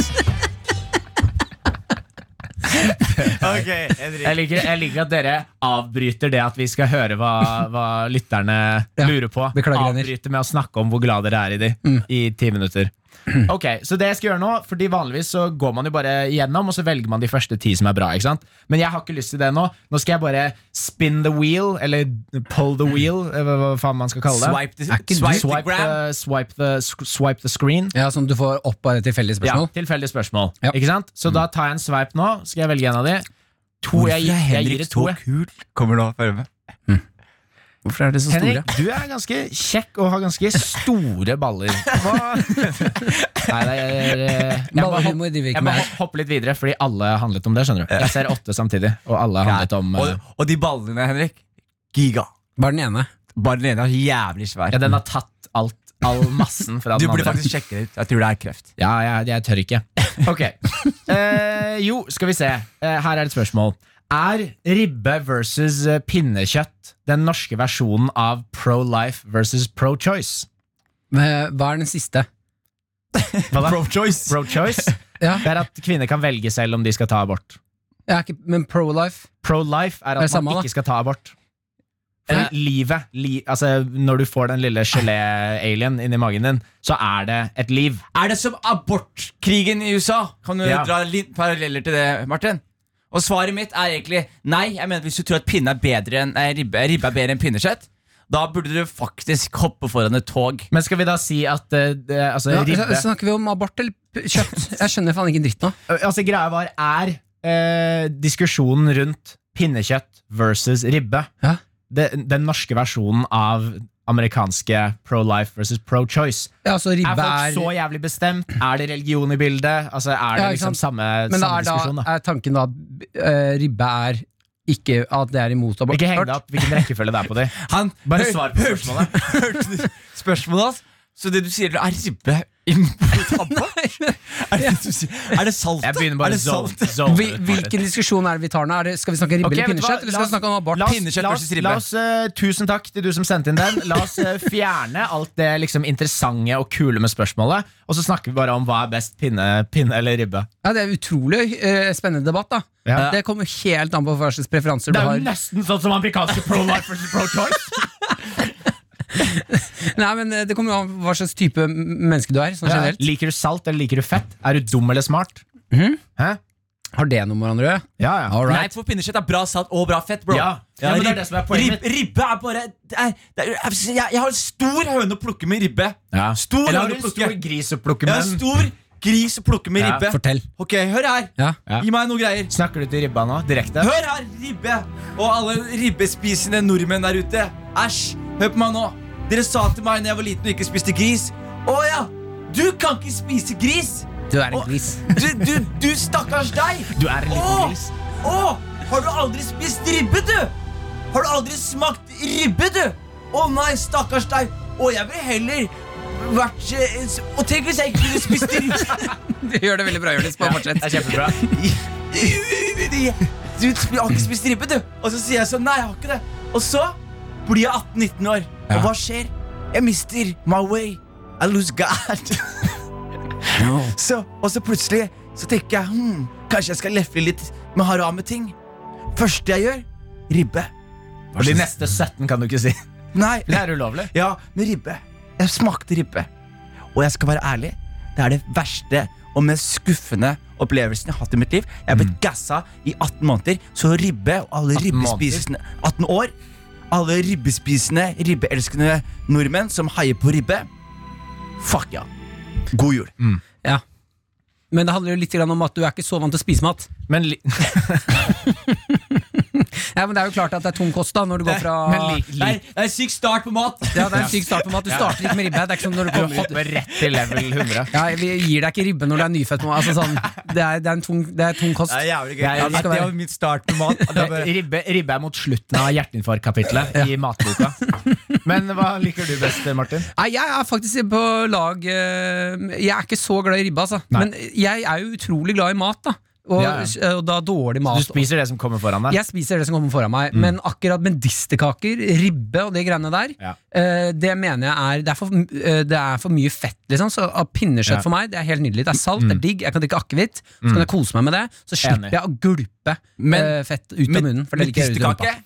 [SPEAKER 4] Ok, Henrik
[SPEAKER 5] Jeg liker, jeg liker at dere avbryter det at vi skal høre hva, hva lytterne
[SPEAKER 3] Ja,
[SPEAKER 5] lurer på.
[SPEAKER 3] beklager, Henrik. Mm.
[SPEAKER 5] Avbryter med å snakke om hvor glad dere er i de i ti minutter. Ok, så det jeg skal gjøre nå Fordi Vanligvis så går man jo bare gjennom og så velger man de første ti som er bra. ikke sant? Men jeg har ikke lyst til det nå. Nå skal jeg bare spin the wheel, eller pull the wheel, eh, hva, hva faen man skal kalle det.
[SPEAKER 4] Swipe the,
[SPEAKER 3] Er ikke du-
[SPEAKER 4] swipe the
[SPEAKER 5] Swipe eh,
[SPEAKER 4] gram
[SPEAKER 5] the, swipe, the, sc- swipe the screen.
[SPEAKER 3] Ja, Sånn at du får opp bare tilfeldige
[SPEAKER 5] Ja,
[SPEAKER 3] spørsmål?
[SPEAKER 5] Tilfeldig spørsmål.
[SPEAKER 3] Ja. Mm.
[SPEAKER 5] Ikke sant? Så da tar jeg en sveip nå. Skal jeg velge en av de? To, jeg, jeg, gir det to. jeg.
[SPEAKER 4] kul? Kommer nå, følg med
[SPEAKER 3] Hvorfor er dere så store?
[SPEAKER 5] Henrik, du er ganske kjekk og har ganske store baller. Hva? [laughs] Nei, det er, eh, jeg, må hoppe,
[SPEAKER 3] Ballehumor driver vi
[SPEAKER 5] jeg
[SPEAKER 3] ikke
[SPEAKER 5] må
[SPEAKER 3] med. her.
[SPEAKER 5] hop- hoppe litt videre, fordi alle handlet om det. skjønner du Jeg ser åtte samtidig, og alle handlet om eh,
[SPEAKER 4] og, og de ballene, Henrik Giga
[SPEAKER 3] Bare den ene.
[SPEAKER 4] Bare den ene er jævlig svær
[SPEAKER 5] Ja, den har tatt alt, all massen fra
[SPEAKER 4] Du
[SPEAKER 5] den
[SPEAKER 4] burde
[SPEAKER 5] andre.
[SPEAKER 4] faktisk sjekke det ut Jeg tror det er kreft
[SPEAKER 5] Ja, jeg, jeg tør ikke. Ok. Eh, jo, skal vi se. Eh, her er et spørsmål. Er ribbe versus eh, pinnekjøtt den norske versjonen av pro-life versus pro-choice?
[SPEAKER 3] Men Eh, Hva er den siste?
[SPEAKER 5] Hva da?
[SPEAKER 4] choice
[SPEAKER 5] Pro-choice?
[SPEAKER 3] [laughs] Ja,
[SPEAKER 5] Det er at kvinner kan velge selv om de skal ta abort.
[SPEAKER 3] jeg er ikke, Men pro-life?
[SPEAKER 5] Pro-life er
[SPEAKER 3] Er
[SPEAKER 5] at
[SPEAKER 3] det samme,
[SPEAKER 5] man
[SPEAKER 3] da?
[SPEAKER 5] ikke skal ta abort.
[SPEAKER 3] Hæ?
[SPEAKER 5] Eller livet. Li, altså, når du får den lille gelé-alien inni magen din, så er det et liv.
[SPEAKER 4] Er det som abortkrigen i USA? Kan du
[SPEAKER 5] Ja.
[SPEAKER 4] dra litt paralleller til det, Martin? Og svaret mitt er egentlig Nei, jeg mener at hvis du tror at pinne er bedre enn eh, ribbe, ribbe er bedre enn pinnekjøtt Da burde du faktisk hoppe foran et tog
[SPEAKER 5] Men skal vi da si at eh, det, altså,
[SPEAKER 3] Ja,
[SPEAKER 5] ribbe
[SPEAKER 3] så- Snakker vi om abort eller p- kjøtt? Jeg skjønner faen ikke en dritt nå.
[SPEAKER 5] Altså, greia var er eh, diskusjonen rundt pinnekjøtt versus ribbe.
[SPEAKER 3] Ja.
[SPEAKER 5] Det, den norske versjonen av amerikanske pro-life versus pro-choice.
[SPEAKER 3] Ja, altså ribbe
[SPEAKER 5] Er folk
[SPEAKER 3] er
[SPEAKER 5] så jævlig bestemt? Er det religion i bildet? Altså, er det
[SPEAKER 3] Ja, ikke
[SPEAKER 5] liksom
[SPEAKER 3] sant?
[SPEAKER 5] samme,
[SPEAKER 3] Men da
[SPEAKER 5] samme
[SPEAKER 3] er,
[SPEAKER 5] diskusjon?
[SPEAKER 3] da,
[SPEAKER 5] Da?
[SPEAKER 3] er tanken da eh, ribbe er ikke at det er imot abort?
[SPEAKER 5] Ikke heng deg opp [laughs] hvilken rekkefølge det er på de.
[SPEAKER 4] Han
[SPEAKER 5] Bare
[SPEAKER 4] Hør-
[SPEAKER 5] svar på
[SPEAKER 4] hørte-
[SPEAKER 5] spørsmålet.
[SPEAKER 4] [laughs] Hørte du spørsmålet hans? Så det du sier, er ribbe [laughs] imot abort? Er det, det du sier? er det saltet?
[SPEAKER 5] Jeg begynner bare
[SPEAKER 4] er det
[SPEAKER 5] zone-
[SPEAKER 4] saltet?
[SPEAKER 5] zone
[SPEAKER 3] Hvil,
[SPEAKER 5] ut, Martin.
[SPEAKER 3] hvilken diskusjon er det vi tar nå? Er det, skal vi snakke ribbe
[SPEAKER 5] Ok,
[SPEAKER 3] eller
[SPEAKER 5] vet du hva?
[SPEAKER 3] pinnekjøtt? Eller skal vi
[SPEAKER 5] La oss-
[SPEAKER 3] snakke om abort?
[SPEAKER 5] la oss-
[SPEAKER 4] Pinnekjøtt
[SPEAKER 5] la oss-
[SPEAKER 4] versus ribbe.
[SPEAKER 5] La oss, eh, tusen takk til du som sendte inn den. La oss [laughs] eh, fjerne alt det liksom, interessante og kule med spørsmålet, og så snakker vi bare om hva er best, pinne, pinne eller ribbe.
[SPEAKER 3] Ja, det er utrolig eh, spennende debatt, da.
[SPEAKER 5] Ja.
[SPEAKER 3] Det kommer helt an på hva slags preferanser du har.
[SPEAKER 5] nesten sånn som amerikanske [laughs] pro-life versus pro-choice.
[SPEAKER 3] Nei, men eh, Det kommer jo an på hva slags type m- menneske du er. Sånn
[SPEAKER 5] Ja.
[SPEAKER 3] generelt
[SPEAKER 5] Liker du salt eller liker du fett? Er du dum eller smart? Hæ?
[SPEAKER 3] Har det noe med hverandre å gjøre?
[SPEAKER 5] Ja, ja.
[SPEAKER 3] All
[SPEAKER 4] Nei, for pinnekjøtt er bra salt og bra fett, bro.
[SPEAKER 5] Ja. Ja, men det er det som er poenget mitt.
[SPEAKER 4] Ribbe, ribbe er bare det er, det er, jeg, jeg har en stor høne å plukke med ribbe.
[SPEAKER 5] Ja.
[SPEAKER 4] Stor høne
[SPEAKER 5] Eller har du
[SPEAKER 4] å
[SPEAKER 5] en
[SPEAKER 4] plukke.
[SPEAKER 5] stor gris å plukke
[SPEAKER 4] Jeg har
[SPEAKER 5] med?
[SPEAKER 4] en
[SPEAKER 5] den?
[SPEAKER 4] stor gris å plukke med
[SPEAKER 5] Ja,
[SPEAKER 4] ribbe.
[SPEAKER 3] Fortell.
[SPEAKER 4] Ok, hør her.
[SPEAKER 3] Ja.
[SPEAKER 5] Ja.
[SPEAKER 4] Gi meg noen greier.
[SPEAKER 5] Snakker du til ribba nå, direkte?
[SPEAKER 4] Hør her, ribbe! Og alle ribbespisende nordmenn der ute. Æsj! Hør på meg nå. Dere sa til meg da jeg var liten og ikke spiste gris. Å ja! Du kan ikke spise gris!
[SPEAKER 3] Du er en
[SPEAKER 4] Å,
[SPEAKER 3] gris. [laughs]
[SPEAKER 4] Du, du, du stakkars deg!
[SPEAKER 5] Du er en liten
[SPEAKER 4] Å,
[SPEAKER 5] gris.
[SPEAKER 4] Å! Har du aldri spist ribbe, du? Har du aldri smakt ribbe, du? Å nei, stakkars deg. Å, jeg ville heller vært eh, s- Og tenk hvis jeg ikke kunne spist ribbe! [laughs]
[SPEAKER 3] Du gjør det veldig bra, Jonis. Bare fortsett.
[SPEAKER 5] Det er [laughs] kjempebra.
[SPEAKER 4] Du sp- har ikke spist ribbe, du. Og så sier jeg sånn, nei, jeg har ikke det. Og så blir jeg 18-19 år.
[SPEAKER 3] Ja.
[SPEAKER 4] Og hva skjer? Jeg mister my way. I lose God. Så, og så plutselig så tenker jeg hmm, Kanskje jeg skal lefle litt med harame-ting. Første jeg gjør ribbe.
[SPEAKER 5] For de neste 17 kan du ikke si.
[SPEAKER 4] Nei,
[SPEAKER 5] [laughs]
[SPEAKER 4] eh,
[SPEAKER 5] Det er ulovlig.
[SPEAKER 4] ja, men ribbe. Jeg smakte ribbe. Og jeg skal være ærlig, det er det verste og mest skuffende opplevelsen jeg har hatt i mitt liv. Jeg er blitt gassa i 18 måneder, så ribbe og alle
[SPEAKER 5] 18 måneder?
[SPEAKER 4] ribbespisende 18 år. Alle ribbespisende, ribbeelskende nordmenn som heier på ribbe. Fuck ja. God jul.
[SPEAKER 3] Ja. Men det handler jo litt grann om at du er ikke så vant til å spise mat.
[SPEAKER 5] Men, li
[SPEAKER 3] Ja, men Det er jo klart at det er tung kost da når du går fra
[SPEAKER 5] men li li
[SPEAKER 4] det er syk start på mat.
[SPEAKER 3] ja, Det er en syk start på mat. Du starter ikke med ribbe. Det er ikke som når du
[SPEAKER 5] Du
[SPEAKER 3] kommer ut
[SPEAKER 5] hopper rett til level [laughs] 100.
[SPEAKER 3] ja, Vi gir deg ikke ribbe når du er nyfødt. nå. Altså, sånn, det, er, det, er en tung, det er tung kost.
[SPEAKER 4] Det er jævlig gøy.
[SPEAKER 5] Ja, ja,
[SPEAKER 4] At
[SPEAKER 3] det skal
[SPEAKER 4] det
[SPEAKER 3] være.
[SPEAKER 4] var mitt start på mat. Og det er bare,
[SPEAKER 5] Eh, Ribbe, ribbe er mot slutten av hjerteinfarkt-kapitlet i matboka. Men hva liker du best, Martin?
[SPEAKER 3] Nei, Jeg er faktisk på lag eh, Jeg er ikke så glad i ribbe, altså.
[SPEAKER 5] Nei.
[SPEAKER 3] Men jeg er jo utrolig glad i mat, da. Og, eh,
[SPEAKER 5] Ja,
[SPEAKER 3] og da dårlig mat.
[SPEAKER 5] Du spiser Mm. det som kommer foran deg.
[SPEAKER 3] Jeg spiser det som kommer foran meg, men akkurat medisterkaker, ribbe og de greiene der,
[SPEAKER 5] Ja.
[SPEAKER 3] eh, det mener jeg er det er, for, eh, det er for mye fett, liksom. Så av pinnekjøtt
[SPEAKER 5] Ja. Mm.
[SPEAKER 3] for meg, det er helt nydelig. Det er salt, det er digg, jeg kan drikke akevitt, så kan jeg kose meg med det. Så slipper
[SPEAKER 5] Enig.
[SPEAKER 3] jeg å gulpe
[SPEAKER 4] Men-
[SPEAKER 3] eh, fett ut av munnen. For det liker jeg ut i rumpa.
[SPEAKER 4] medisterkake.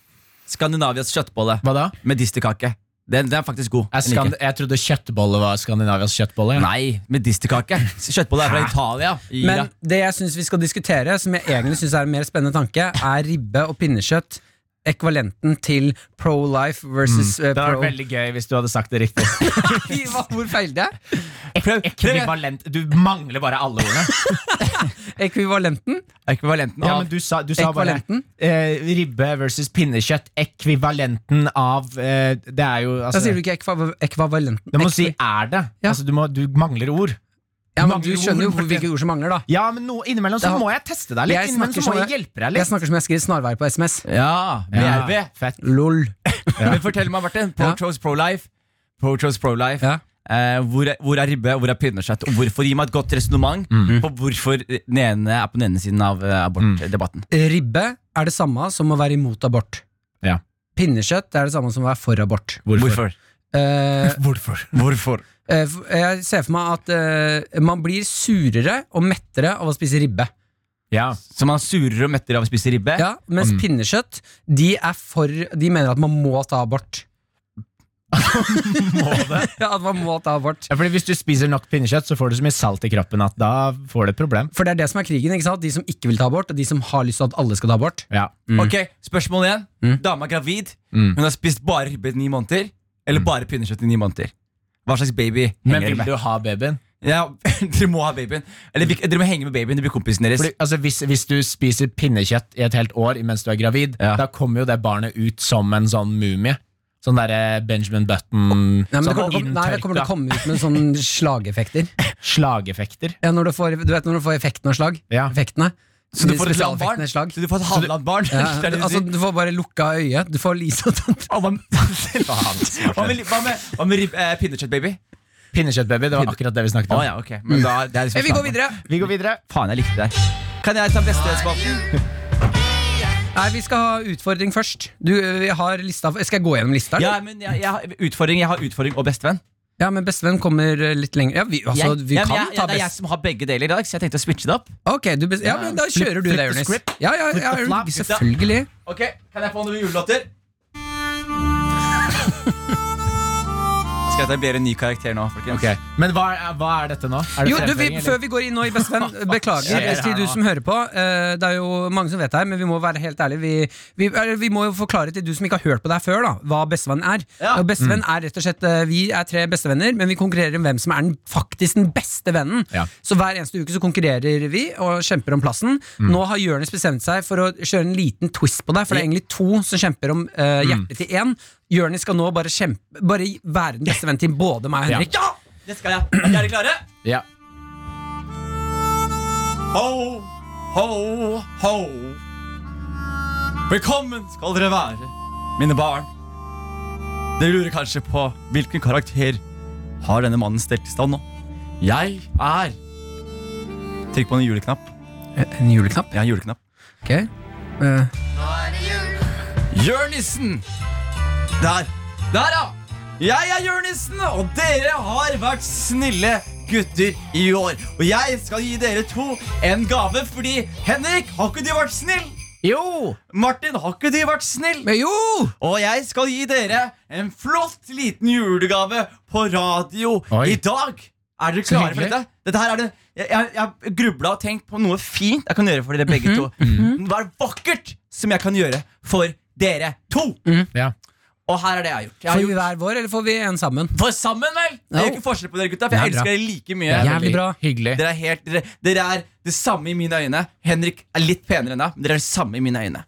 [SPEAKER 4] Skandinavias kjøttbolle.
[SPEAKER 5] Hva da?
[SPEAKER 4] Medisterkake. Den, den er faktisk god.
[SPEAKER 5] Jeg,
[SPEAKER 4] Den liker
[SPEAKER 5] skan jeg trodde kjøttbolle var Skandinavias kjøttbolle.
[SPEAKER 4] jeg. Nei, medisterkake. Kjøttbolle er fra Italia.
[SPEAKER 3] Men det jeg syns vi skal diskutere, som jeg egentlig syns er en mer spennende tanke, er ribbe og pinnekjøtt. Ekvalenten til pro-life versus eh,
[SPEAKER 5] Mm. Det hadde
[SPEAKER 3] pro...
[SPEAKER 5] vært veldig gøy hvis du hadde sagt det [laughs] riktig.
[SPEAKER 3] [laughs] Nei, hva- Hvor feilte jeg?
[SPEAKER 5] Ekvivalent Du mangler bare alle ordene.
[SPEAKER 3] Ekvivalenten?
[SPEAKER 4] Ekvivalenten
[SPEAKER 5] Ja,
[SPEAKER 4] av
[SPEAKER 5] men du sa, du sa bare
[SPEAKER 3] Ekvivalenten?
[SPEAKER 5] eh, ribbe versus pinnekjøtt. Ekvivalenten av eh, Det er jo
[SPEAKER 3] Da
[SPEAKER 5] altså,
[SPEAKER 3] sier du ikke ekva- ekvivalenten.
[SPEAKER 5] Du må si 'er det'.
[SPEAKER 3] Ja.
[SPEAKER 5] Altså, du, må, du mangler ord.
[SPEAKER 3] Ja, men Du
[SPEAKER 5] mangler
[SPEAKER 3] skjønner jo
[SPEAKER 5] ord, Martin.
[SPEAKER 3] hvilke ord som mangler, da.
[SPEAKER 5] Ja, men no, innimellom så
[SPEAKER 3] Det har-
[SPEAKER 5] må jeg teste deg litt.
[SPEAKER 3] Jeg
[SPEAKER 5] innimellom så
[SPEAKER 3] snakker
[SPEAKER 5] må
[SPEAKER 3] som
[SPEAKER 5] jeg hjelpe
[SPEAKER 3] Jeg
[SPEAKER 5] deg litt.
[SPEAKER 3] snakker som jeg skriver snarveier på SMS.
[SPEAKER 4] Ja, med
[SPEAKER 5] Ja.
[SPEAKER 4] RV.
[SPEAKER 5] Fett.
[SPEAKER 3] Lol.
[SPEAKER 4] Men fortell meg, Martin.
[SPEAKER 3] Ja.
[SPEAKER 4] Pro-chose pro-life. Pro-chose pro-life.
[SPEAKER 3] Ja.
[SPEAKER 4] Eh, hvor, er, hvor er ribbe, hvor er pinnekjøtt? Og hvorfor Gi meg et godt resonnement på hvorfor den ene er på den ene siden av eh, abortdebatten.
[SPEAKER 3] Ribbe er det samme som å være imot abort.
[SPEAKER 5] Ja.
[SPEAKER 3] Pinnekjøtt er det samme som å være for abort.
[SPEAKER 4] Hvorfor?
[SPEAKER 3] Eh,
[SPEAKER 5] Hvorfor?
[SPEAKER 4] Hvorfor?
[SPEAKER 3] eh, f- jeg ser for meg at eh, man blir surere og mettere av å spise ribbe.
[SPEAKER 5] Ja.
[SPEAKER 4] Så man er surere og mettere av å spise ribbe?
[SPEAKER 3] Ja, mens
[SPEAKER 4] Mm.
[SPEAKER 3] pinnekjøtt, de er for De mener at man må ta abort.
[SPEAKER 5] Må det?
[SPEAKER 3] [laughs] Ja, at man må ta abort.
[SPEAKER 5] Ja, fordi Hvis du spiser nok pinnekjøtt, så får du så mye salt i kroppen at da får du et problem.
[SPEAKER 3] For det er det som er krigen. ikke sant? De som ikke vil ta abort, og de som har lyst til at alle skal ta abort.
[SPEAKER 5] Ja.
[SPEAKER 4] Ok, Spørsmål igjen. Dama er gravid.
[SPEAKER 5] Mm.
[SPEAKER 4] Hun har spist bare ribbe i ni måneder. Eller bare pinnekjøtt i ni måneder. Hva slags baby
[SPEAKER 5] Men
[SPEAKER 4] henger dere
[SPEAKER 5] vil
[SPEAKER 4] med?
[SPEAKER 5] du ha babyen?
[SPEAKER 4] Ja, [laughs] dere må ha babyen. Eller vi- dere må henge med babyen. Det blir kompisen deres.
[SPEAKER 5] Fordi, altså, hvis, hvis du spiser pinnekjøtt i et helt år mens du er gravid,
[SPEAKER 4] Ja.
[SPEAKER 5] da kommer jo det barnet ut som en sånn mumie. Sånn derre Benjamin Button
[SPEAKER 3] Nei, men det
[SPEAKER 5] sånn
[SPEAKER 3] kommer, nei, det kommer til å
[SPEAKER 5] inntørka
[SPEAKER 3] komme ut med sånne slageffekter.
[SPEAKER 5] slageffekter.
[SPEAKER 3] Ja, når du, får, du vet når du får effekten av slag?
[SPEAKER 5] Ja.
[SPEAKER 3] Effektene.
[SPEAKER 4] Så du får et
[SPEAKER 3] Spesialeffektene
[SPEAKER 4] halvbarn?
[SPEAKER 3] i slag.
[SPEAKER 4] Så du får et halvland barn?
[SPEAKER 3] Ja,
[SPEAKER 4] Det er det du
[SPEAKER 3] altså,
[SPEAKER 4] sier.
[SPEAKER 3] du får bare lukka øye. Du får Lisa
[SPEAKER 4] Å,
[SPEAKER 3] [laughs]
[SPEAKER 4] hva med-
[SPEAKER 5] Faen.
[SPEAKER 4] Hva med, hva med, hva med rib- eh, pinnekjøttbaby?
[SPEAKER 5] Pinnekjøttbaby, det var akkurat det vi snakket
[SPEAKER 4] Å
[SPEAKER 5] om.
[SPEAKER 4] ja, ok. Men da, det er liksom
[SPEAKER 3] Vi går
[SPEAKER 4] standard.
[SPEAKER 3] videre!
[SPEAKER 5] Vi går videre.
[SPEAKER 4] Faen, jeg likte det der. Kan jeg ta bestevennsspalten?
[SPEAKER 3] Nei, Vi skal ha utfordring først. Du, eh, vi har lista Skal jeg gå gjennom lista? eller?
[SPEAKER 4] Ja, men jeg, jeg, har utfordring, jeg har utfordring og bestevenn.
[SPEAKER 3] ja, men bestevenn kommer eh, litt lenger. Ja, vi, altså,
[SPEAKER 4] Jeg-
[SPEAKER 3] vi
[SPEAKER 4] ja, men
[SPEAKER 3] kan
[SPEAKER 4] jeg, ja,
[SPEAKER 3] ta
[SPEAKER 4] Det er jeg
[SPEAKER 3] best...
[SPEAKER 4] som har begge deler i dag, så jeg tenkte å switche det opp.
[SPEAKER 3] Ok, du best... Ja, men da
[SPEAKER 5] Flip-
[SPEAKER 3] kjører du det,
[SPEAKER 5] flip the
[SPEAKER 3] Jonis.
[SPEAKER 5] script.
[SPEAKER 3] Ja, ja, ja,
[SPEAKER 5] the flap, gutta.
[SPEAKER 3] selvfølgelig.
[SPEAKER 4] Ok, Kan jeg få noen julelåter? Skal jeg etablere en ny karakter nå, folkens?
[SPEAKER 5] Ok, Men hva er, hva er dette nå? Er det
[SPEAKER 3] Jo, du, vi,
[SPEAKER 5] fremføring,
[SPEAKER 3] Før vi går inn nå i
[SPEAKER 5] [laughs]
[SPEAKER 3] Bestevenn, beklager
[SPEAKER 5] Skjer det
[SPEAKER 3] til
[SPEAKER 5] her
[SPEAKER 3] du
[SPEAKER 5] nå?
[SPEAKER 3] som hører på. eh, det er jo mange som vet det her, men vi må være helt ærlige. Vi, vi, eller, vi må jo forklare til du som ikke har hørt på det her før, da hva bestevenn er.
[SPEAKER 4] Ja.
[SPEAKER 3] Og Bestevenn
[SPEAKER 5] Mm.
[SPEAKER 3] er rett og slett eh, Vi er tre bestevenner, men vi konkurrerer om hvem som er den faktisk den beste vennen.
[SPEAKER 5] Ja.
[SPEAKER 3] Så hver eneste uke så konkurrerer vi og kjemper om plassen.
[SPEAKER 5] Mm.
[SPEAKER 3] Nå har Jonis bestemt seg for å kjøre en liten twist på deg, for det er egentlig to som kjemper om
[SPEAKER 5] Mm.
[SPEAKER 3] eh, hjertet til én. Jonis skal nå bare, kjempe, bare være den beste vennen til både meg og
[SPEAKER 5] Ja.
[SPEAKER 3] Henrik.
[SPEAKER 4] Ja! Det skal jeg. Er dere klare?
[SPEAKER 5] eller? Ja.
[SPEAKER 4] Ho, ho, ho. Velkommen skal dere være, mine barn. Dere lurer kanskje på hvilken karakter har denne mannen stelt i stand nå. Jeg er Trykk på en juleknapp.
[SPEAKER 5] Eh,
[SPEAKER 3] En juleknapp?
[SPEAKER 4] Ja, en juleknapp.
[SPEAKER 3] Ok. Eh,
[SPEAKER 4] Jørnissen! Der. Der, ja! Jeg er Jørnissen, og dere har vært snille gutter i år. Og jeg skal gi dere to en gave, fordi Henrik, har ikke du vært snill?
[SPEAKER 5] Jo!
[SPEAKER 4] Martin, har ikke du vært snill?
[SPEAKER 3] men jo!
[SPEAKER 4] Og jeg skal gi dere en flott liten julegave på radio
[SPEAKER 5] Oi.
[SPEAKER 4] i dag. Er dere klare for
[SPEAKER 5] hyggelig.
[SPEAKER 4] dette? Dette her er det Jeg, jeg, jeg grubla og tenkt på noe fint jeg kan gjøre for dere begge
[SPEAKER 5] Mhm.
[SPEAKER 4] to. Hva er vakkert som jeg kan gjøre for dere to?
[SPEAKER 5] Ja.
[SPEAKER 3] [laughs]
[SPEAKER 4] Og her er det jeg har gjort. Jeg har
[SPEAKER 3] Får vi
[SPEAKER 4] gjort
[SPEAKER 3] hver vår, eller får vi en sammen?
[SPEAKER 4] for sammen, vel! Jeg
[SPEAKER 3] Jo.
[SPEAKER 4] gjør ikke forskjell på dere, gutta, for jeg
[SPEAKER 5] Det er bra.
[SPEAKER 4] elsker dere like mye.
[SPEAKER 5] Det er
[SPEAKER 3] Jævlig
[SPEAKER 5] veldig
[SPEAKER 3] bra.
[SPEAKER 5] Hyggelig.
[SPEAKER 4] Dere er, helt, dere, dere er det samme i mine øyne. Henrik er litt penere enn deg, men dere er det samme i mine øyne.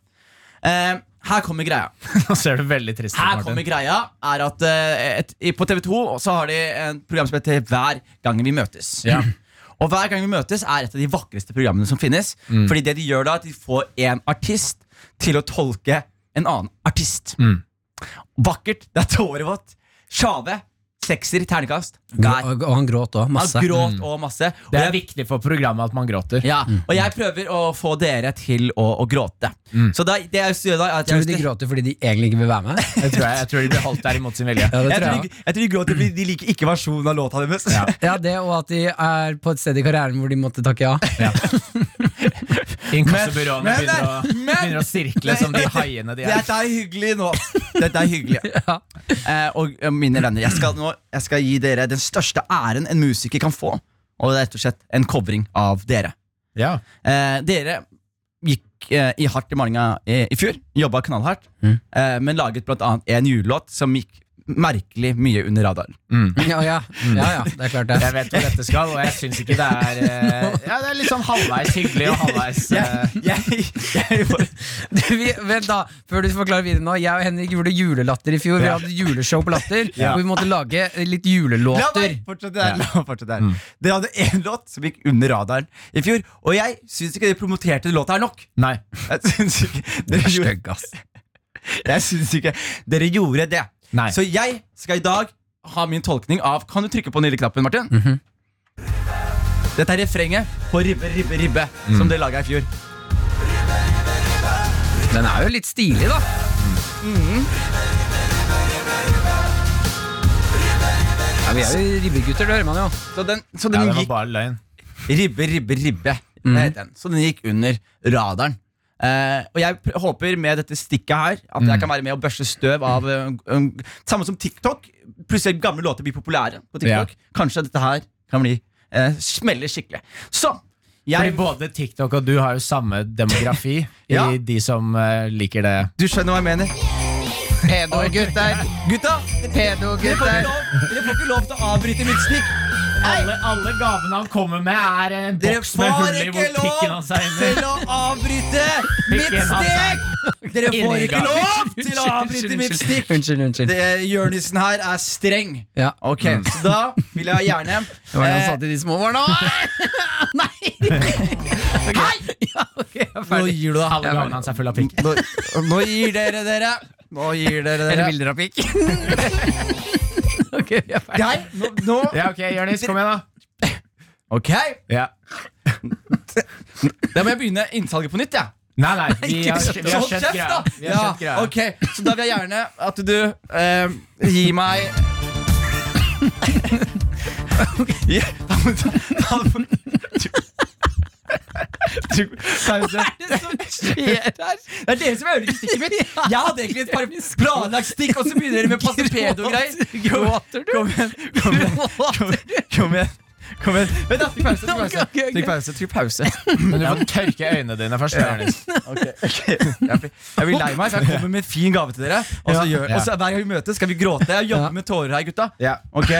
[SPEAKER 4] Eh, her kommer greia.
[SPEAKER 5] Nå ser du veldig trist ut,
[SPEAKER 4] Her kommer
[SPEAKER 5] Martin.
[SPEAKER 4] greia er at eh, et, i- På TV 2 så har de en program som heter Hver gang vi møtes.
[SPEAKER 5] Ja.
[SPEAKER 4] [clears throat] Og Hver gang vi møtes er et av de vakreste programmene som finnes. Fordi det de gjør da, er at de får en artist til å tolke en annen artist.
[SPEAKER 5] Mm.
[SPEAKER 4] Vakkert. Det er tårevått. Sjave. Sekser i ternekast. Hver.
[SPEAKER 3] Og, og han gråt òg. Masse.
[SPEAKER 4] Han gråt og masse. Og
[SPEAKER 5] Det
[SPEAKER 4] jeg-
[SPEAKER 5] er viktig for programmet at man gråter.
[SPEAKER 4] ja, og jeg prøver å få dere til å, å gråte. Så da, det jeg gjør da er at jeg, har
[SPEAKER 3] Tror du de
[SPEAKER 4] lyst til-
[SPEAKER 3] gråter fordi de egentlig ikke vil være med?
[SPEAKER 5] Jeg tror, jeg, jeg tror de ble holdt der imot sin vilje.
[SPEAKER 3] Ja, det
[SPEAKER 4] jeg,
[SPEAKER 3] tror
[SPEAKER 4] tror
[SPEAKER 3] jeg.
[SPEAKER 4] de, jeg tror de gråter fordi de liker ikke versjonen av låta deres.
[SPEAKER 5] Ja.
[SPEAKER 3] også. Ja, det, og at de er på et sted i karrieren hvor de måtte takke ja.
[SPEAKER 5] Inkassobyråene
[SPEAKER 4] Men- eh,
[SPEAKER 5] begynner, å-
[SPEAKER 4] men-
[SPEAKER 5] begynner å sirkle som de haiene de er.
[SPEAKER 4] Dette er hyggelig nå. Dette er hyggelig
[SPEAKER 3] Ja.
[SPEAKER 4] eh, Og eh, mine venner, jeg skal, nå, jeg skal gi dere den største æren en musiker kan få. Og det er rett og slett en covering av dere.
[SPEAKER 5] Ja.
[SPEAKER 4] Eh, dere gikk eh, i hardt i malinga i, i fjor, jobba knallhardt, eh, men laget blant annet en julelåt som gikk merkelig mye under radaren.
[SPEAKER 3] [laughs] Ja, ja. ja, ja, det er klart det.
[SPEAKER 5] Jeg vet hvor dette skal, og jeg syns ikke det er eh, Ja, det er litt sånn halvveis hyggelig og halvveis eh,
[SPEAKER 4] jeg, jeg, jeg,
[SPEAKER 3] Du, [laughs] vi, vent da, Før du forklarer videre nå. Jeg og Henrik gjorde julelatter i fjor. Vi
[SPEAKER 5] Ja.
[SPEAKER 3] hadde juleshow på Latter.
[SPEAKER 5] Ja.
[SPEAKER 3] Og vi måtte lage litt
[SPEAKER 4] La
[SPEAKER 3] julelåter.
[SPEAKER 4] meg fortsette der. La meg fortsette der. Dere hadde én låt som gikk under radaren i fjor, og jeg syns ikke dere promoterte den låta her nok.
[SPEAKER 5] Nei.
[SPEAKER 4] Jeg syns ikke dere gjorde,
[SPEAKER 3] ass.
[SPEAKER 4] [laughs] jeg syns ikke dere gjorde det.
[SPEAKER 5] Nei.
[SPEAKER 4] Så jeg skal i dag ha min tolkning av Kan du trykke på den lille knappen, Martin?
[SPEAKER 5] Mhm.
[SPEAKER 4] Dette er refrenget på Ribbe, ribbe, ribbe,
[SPEAKER 5] Mm.
[SPEAKER 4] som dere laga i fjor.
[SPEAKER 3] Den er jo litt stilig, da.
[SPEAKER 4] Mm.
[SPEAKER 3] Ja, vi er jo ribbegutter, det hører man jo.
[SPEAKER 4] Så den, så
[SPEAKER 5] Ja,
[SPEAKER 4] den
[SPEAKER 5] det var
[SPEAKER 4] gikk
[SPEAKER 5] bare løgn.
[SPEAKER 4] Ribbe, ribbe, ribbe. Det het den. Så den gikk under radaren. Eh, og jeg pr- håper med dette stikket her at jeg kan være med og børste støv av eh, um, Samme som TikTok. Plutselig gamle låter blir populære på TikTok. Kanskje dette her kan bli eh, smelle skikkelig. Så
[SPEAKER 5] Fordi
[SPEAKER 4] jeg,
[SPEAKER 5] både TikTok og du har jo samme demografi [laughs]
[SPEAKER 4] Ja.
[SPEAKER 5] i de som eh, liker det.
[SPEAKER 4] Du skjønner hva jeg mener?
[SPEAKER 5] Pedogutter!
[SPEAKER 4] Gutta! Dere får, ikke lov, dere får ikke lov til å avbryte mitt stikk.
[SPEAKER 5] Alle, alle gavene han kommer med, er en
[SPEAKER 4] Dere
[SPEAKER 5] boks med
[SPEAKER 4] får
[SPEAKER 5] hull i
[SPEAKER 4] ikke
[SPEAKER 5] hvor
[SPEAKER 4] lov
[SPEAKER 5] pikken hans er inni.
[SPEAKER 4] til å avbryte mitt
[SPEAKER 5] [laughs] Pikken hans er-
[SPEAKER 4] stikk! Dere
[SPEAKER 5] Inni
[SPEAKER 4] får ikke
[SPEAKER 5] gangen.
[SPEAKER 4] lov til å avbryte mitt stikk!
[SPEAKER 3] Unnskyld, unnskyld.
[SPEAKER 4] det, Jørnissen her er streng.
[SPEAKER 3] Ja. mm.
[SPEAKER 4] Ok,
[SPEAKER 5] Mm.
[SPEAKER 4] så da vil jeg gjerne
[SPEAKER 3] Det var det han
[SPEAKER 4] eh, [laughs]
[SPEAKER 3] sa til de små barna.
[SPEAKER 5] Nå gir du deg halve gaven hans er full av pikk.
[SPEAKER 4] nå, nå gir dere dere. Nå gir dere
[SPEAKER 3] Eller
[SPEAKER 4] dere.
[SPEAKER 3] bilder av
[SPEAKER 5] [laughs]
[SPEAKER 3] pikk. ok, vi er ferdig.
[SPEAKER 4] Jeg, nå, nå.
[SPEAKER 5] Ja, ok, Jonis, kom igjen, da.
[SPEAKER 4] Ok,
[SPEAKER 5] Ja.
[SPEAKER 4] da må jeg begynne innsalget på nytt, jeg.
[SPEAKER 5] Nei, nei, vi har, vi har
[SPEAKER 4] Hold
[SPEAKER 5] skjønt
[SPEAKER 4] kjeft,
[SPEAKER 5] greia.
[SPEAKER 4] da!
[SPEAKER 5] Vi har skjønt
[SPEAKER 4] Ja,
[SPEAKER 5] greia.
[SPEAKER 4] ok, Så da vil jeg gjerne at du eh, gir meg [laughs] Ja, da må du- da må du- du- Pause. [laughs] Det er dere som ødelegger stikket mitt. Jeg hadde egentlig et par planlagt stikk, og så begynner dere med passe pedo-greier.
[SPEAKER 3] Gråter du?
[SPEAKER 4] Kom igjen. Kom igjen. Kom igjen. Kom igjen. Kom igjen. Vent, da. Trykk pause. Trykk pause.
[SPEAKER 3] ok, ok.
[SPEAKER 4] Trykk pause. Trykk pause.
[SPEAKER 5] Men du må tørke øynene dine først. Jonis.
[SPEAKER 4] Jeg blir, jeg blir lei meg, så jeg kommer med en fin gave til dere. Og så
[SPEAKER 5] Ja.
[SPEAKER 4] gjør, og så hver gang vi møtes, skal vi gråte. Jeg jobber
[SPEAKER 3] Ja.
[SPEAKER 4] med tårer her, gutta.
[SPEAKER 5] Ja.
[SPEAKER 4] Ok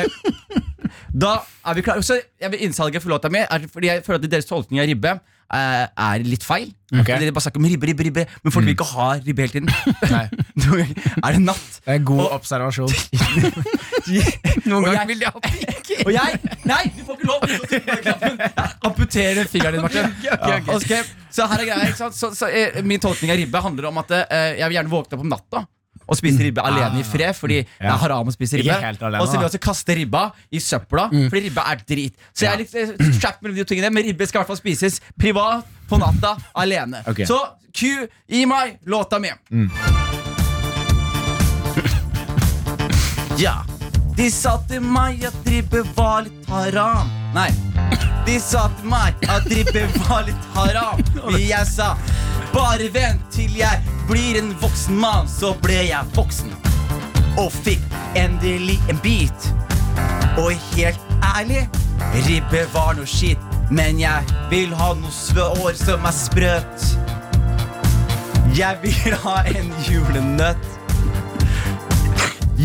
[SPEAKER 4] Da er vi klare. Så jeg vil Innsalget for låta mi er fordi jeg føler at deres tolkning av ribbe eh, er litt feil. Dere bare snakker om ribbe, ribbe, ribbe, men folk vil ikke ha ribbe hele tiden.
[SPEAKER 5] Mm. Nei.
[SPEAKER 4] Noen ganger [laughs] er det natt.
[SPEAKER 5] Det er en god
[SPEAKER 4] Og-
[SPEAKER 5] [laughs] observasjon.
[SPEAKER 4] Og
[SPEAKER 3] Noen
[SPEAKER 4] jeg-
[SPEAKER 3] ganger vil de ha pikk.
[SPEAKER 4] Og jeg Nei, du får ikke lov! Amputere fingeren din, Martin.
[SPEAKER 3] ok, ok.
[SPEAKER 4] Og skal jeg- Så her er greia. ikke sant? Så, så, eh, min tolkning av ribbe handler om at eh, jeg vil gjerne våkne opp om natta. Og spise ribbe alene i fred, fordi det er haram å spise ribbe.
[SPEAKER 5] Ikke helt alene,
[SPEAKER 4] og så vil jeg
[SPEAKER 5] da.
[SPEAKER 4] også altså kaste ribba i søpla, fordi ribbe er drit. Så jeg er litt eh, slapp mellom de to tingene, men ribbe skal i hvert fall spises privat på natta alene.
[SPEAKER 5] Ok.
[SPEAKER 4] Så Q, gi meg låta mi. [laughs] Ja. De sa til meg at ribbe var litt haram. Nei. De sa til meg at ribbe var litt haram. Men jeg sa bare vent til jeg blir en voksen mann. Så ble jeg voksen og fikk endelig en bit. Og helt ærlig, ribbe var noe skitt. Men jeg vil ha noe svår som er sprøtt. Jeg vil ha en julenøtt.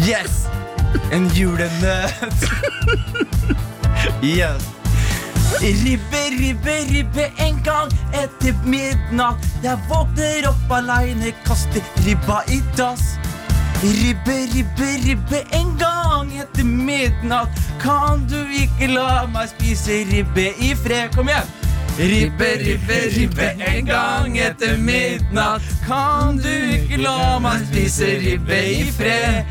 [SPEAKER 4] Yes! En julenøtt. Yes. Ribbe, ribbe, ribbe en gang etter midnatt. Jeg våkner opp aleine, kaster ribba i dass. Ribbe, ribbe, ribbe en gang etter midnatt. Kan du ikke la meg spise ribbe i fred? Kom igjen! Ribbe, ribbe, ribbe en gang etter midnatt. Kan du ikke la meg spise ribbe i fred?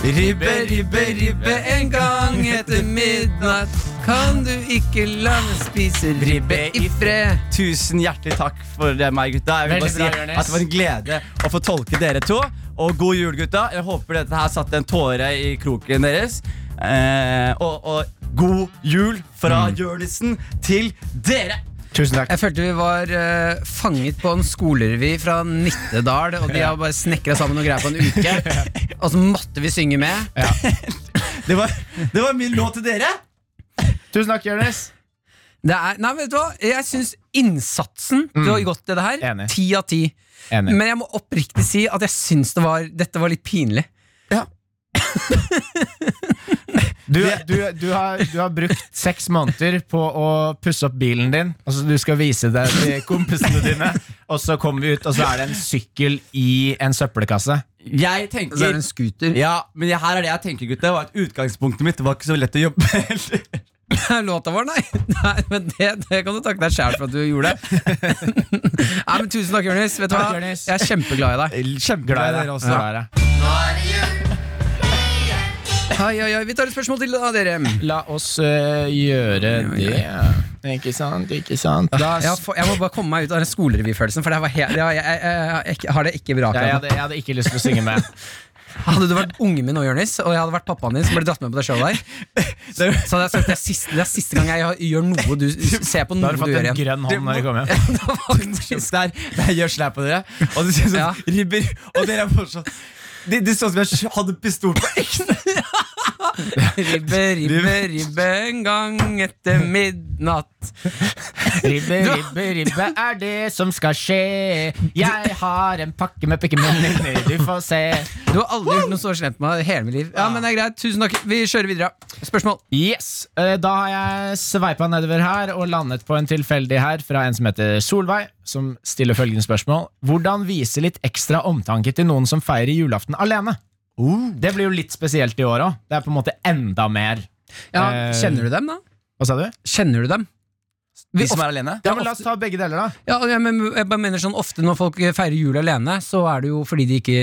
[SPEAKER 4] Ribbe, ribbe, ribbe en gang etter midnatt.
[SPEAKER 3] Kan du ikke la meg spise ribbe i fred?
[SPEAKER 4] Tusen hjertelig takk for det, meg, gutta. Jeg vil bare
[SPEAKER 5] Veldig
[SPEAKER 4] si
[SPEAKER 5] bra, Jonis.
[SPEAKER 4] at Det var en glede å få tolke dere to. Og god jul, gutta. Jeg håper dette her satte en tåre i kroken deres. Eh, og, og god jul fra Jørnisen til dere!
[SPEAKER 5] Tusen takk.
[SPEAKER 3] Jeg følte vi var eh, fanget på en skolerevy fra Nittedal, og de har bare snekra sammen noe greier på en [laughs] uke. Og så måtte vi synge med.
[SPEAKER 4] Det var, det var min låt til dere.
[SPEAKER 5] Eh, Tusen takk, Jonis.
[SPEAKER 3] Det er, nei, vet du hva? Jeg syns innsatsen Du har gått til det her.
[SPEAKER 5] Enig.
[SPEAKER 3] Ti av ti.
[SPEAKER 5] Enig.
[SPEAKER 3] Men jeg må oppriktig si at jeg syns det var, dette var litt pinlig.
[SPEAKER 5] Du, du, du, har, du har brukt seks måneder på å pusse opp bilen din. Altså Du skal vise det til kompisene dine, og så kommer vi ut, og så er det en sykkel i en søppelkasse.
[SPEAKER 4] Jeg
[SPEAKER 3] Og så er
[SPEAKER 4] tenker
[SPEAKER 3] det en scooter.
[SPEAKER 4] Ja, men jeg- her er det jeg tenker, gutta. Var at utgangspunktet mitt var ikke så lett å jobbe med. heller.
[SPEAKER 3] [laughs] Låta vår, nei. nei men det, det kan du takke deg sjæl for at du [laughs] gjorde. nei, men Tusen takk, Jonis. Vet du hva?
[SPEAKER 5] Takk, Jonis.
[SPEAKER 3] Jeg er kjempeglad i deg.
[SPEAKER 5] Glad i
[SPEAKER 4] Kjempeglad i
[SPEAKER 5] dere
[SPEAKER 4] dere
[SPEAKER 5] også.
[SPEAKER 4] også.
[SPEAKER 5] Glad i dere.
[SPEAKER 3] Oi, oi, oi. Vi tar et spørsmål til av dere.
[SPEAKER 5] La oss eh, gjøre det. Ikke sant, ikke sant. Da,
[SPEAKER 3] Jeg, har få- jeg må bare komme meg ut av den skolerevyfølelsen, for det var helt, det var, jeg, jeg, jeg, jeg, har det ikke bra.
[SPEAKER 5] ja, jeg,
[SPEAKER 3] akkurat nå.
[SPEAKER 5] hadde, jeg hadde ikke lyst til å synge med.
[SPEAKER 3] Hadde du vært ungen min nå, Jonis, og jeg hadde vært pappaen din, som ble dratt med på det
[SPEAKER 5] [laughs]
[SPEAKER 3] showet der, så hadde jeg sagt det er siste, det er siste gang jeg gjør noe du ser på
[SPEAKER 5] Da
[SPEAKER 3] noe
[SPEAKER 5] har
[SPEAKER 3] du
[SPEAKER 5] du fått
[SPEAKER 3] gjør
[SPEAKER 5] en
[SPEAKER 3] igjen.
[SPEAKER 5] grønn hånd når du kommer hjem.
[SPEAKER 3] Det var faktisk-
[SPEAKER 4] der, der gjør slæp på dere. Og det ser sånn
[SPEAKER 3] Ja.
[SPEAKER 4] ribber Og dere er fortsatt Det, det så ut som jeg hadde pistol på ekte.
[SPEAKER 3] Ribbe, ribbe, ribbe en gang etter midnatt.
[SPEAKER 5] Ribbe, ribbe, ribbe er det som skal skje. Jeg har en pakke med pikkemenn inni, du får se.
[SPEAKER 3] Du har aldri gjort noe så slemt med meg i hele mitt liv. Ja, men det er greit, tusen takk Vi kjører videre. Spørsmål.
[SPEAKER 5] Yes, eh, Da har jeg sveipa nedover her og landet på en tilfeldig her fra en som heter Solveig, som stiller følgende spørsmål. Hvordan vise litt ekstra omtanke til noen som feirer julaften alene? Det blir jo litt spesielt i år òg. Det er på en måte enda mer.
[SPEAKER 3] Ja,
[SPEAKER 5] Eh,
[SPEAKER 3] kjenner du dem, da?
[SPEAKER 5] Hva sa du?
[SPEAKER 3] Kjenner du dem? Vi
[SPEAKER 4] De som er alene.
[SPEAKER 5] Ja, men La oss ta begge deler, da.
[SPEAKER 3] Ja, jeg, men, jeg bare mener sånn Ofte når folk feirer jul alene, så er det jo fordi de ikke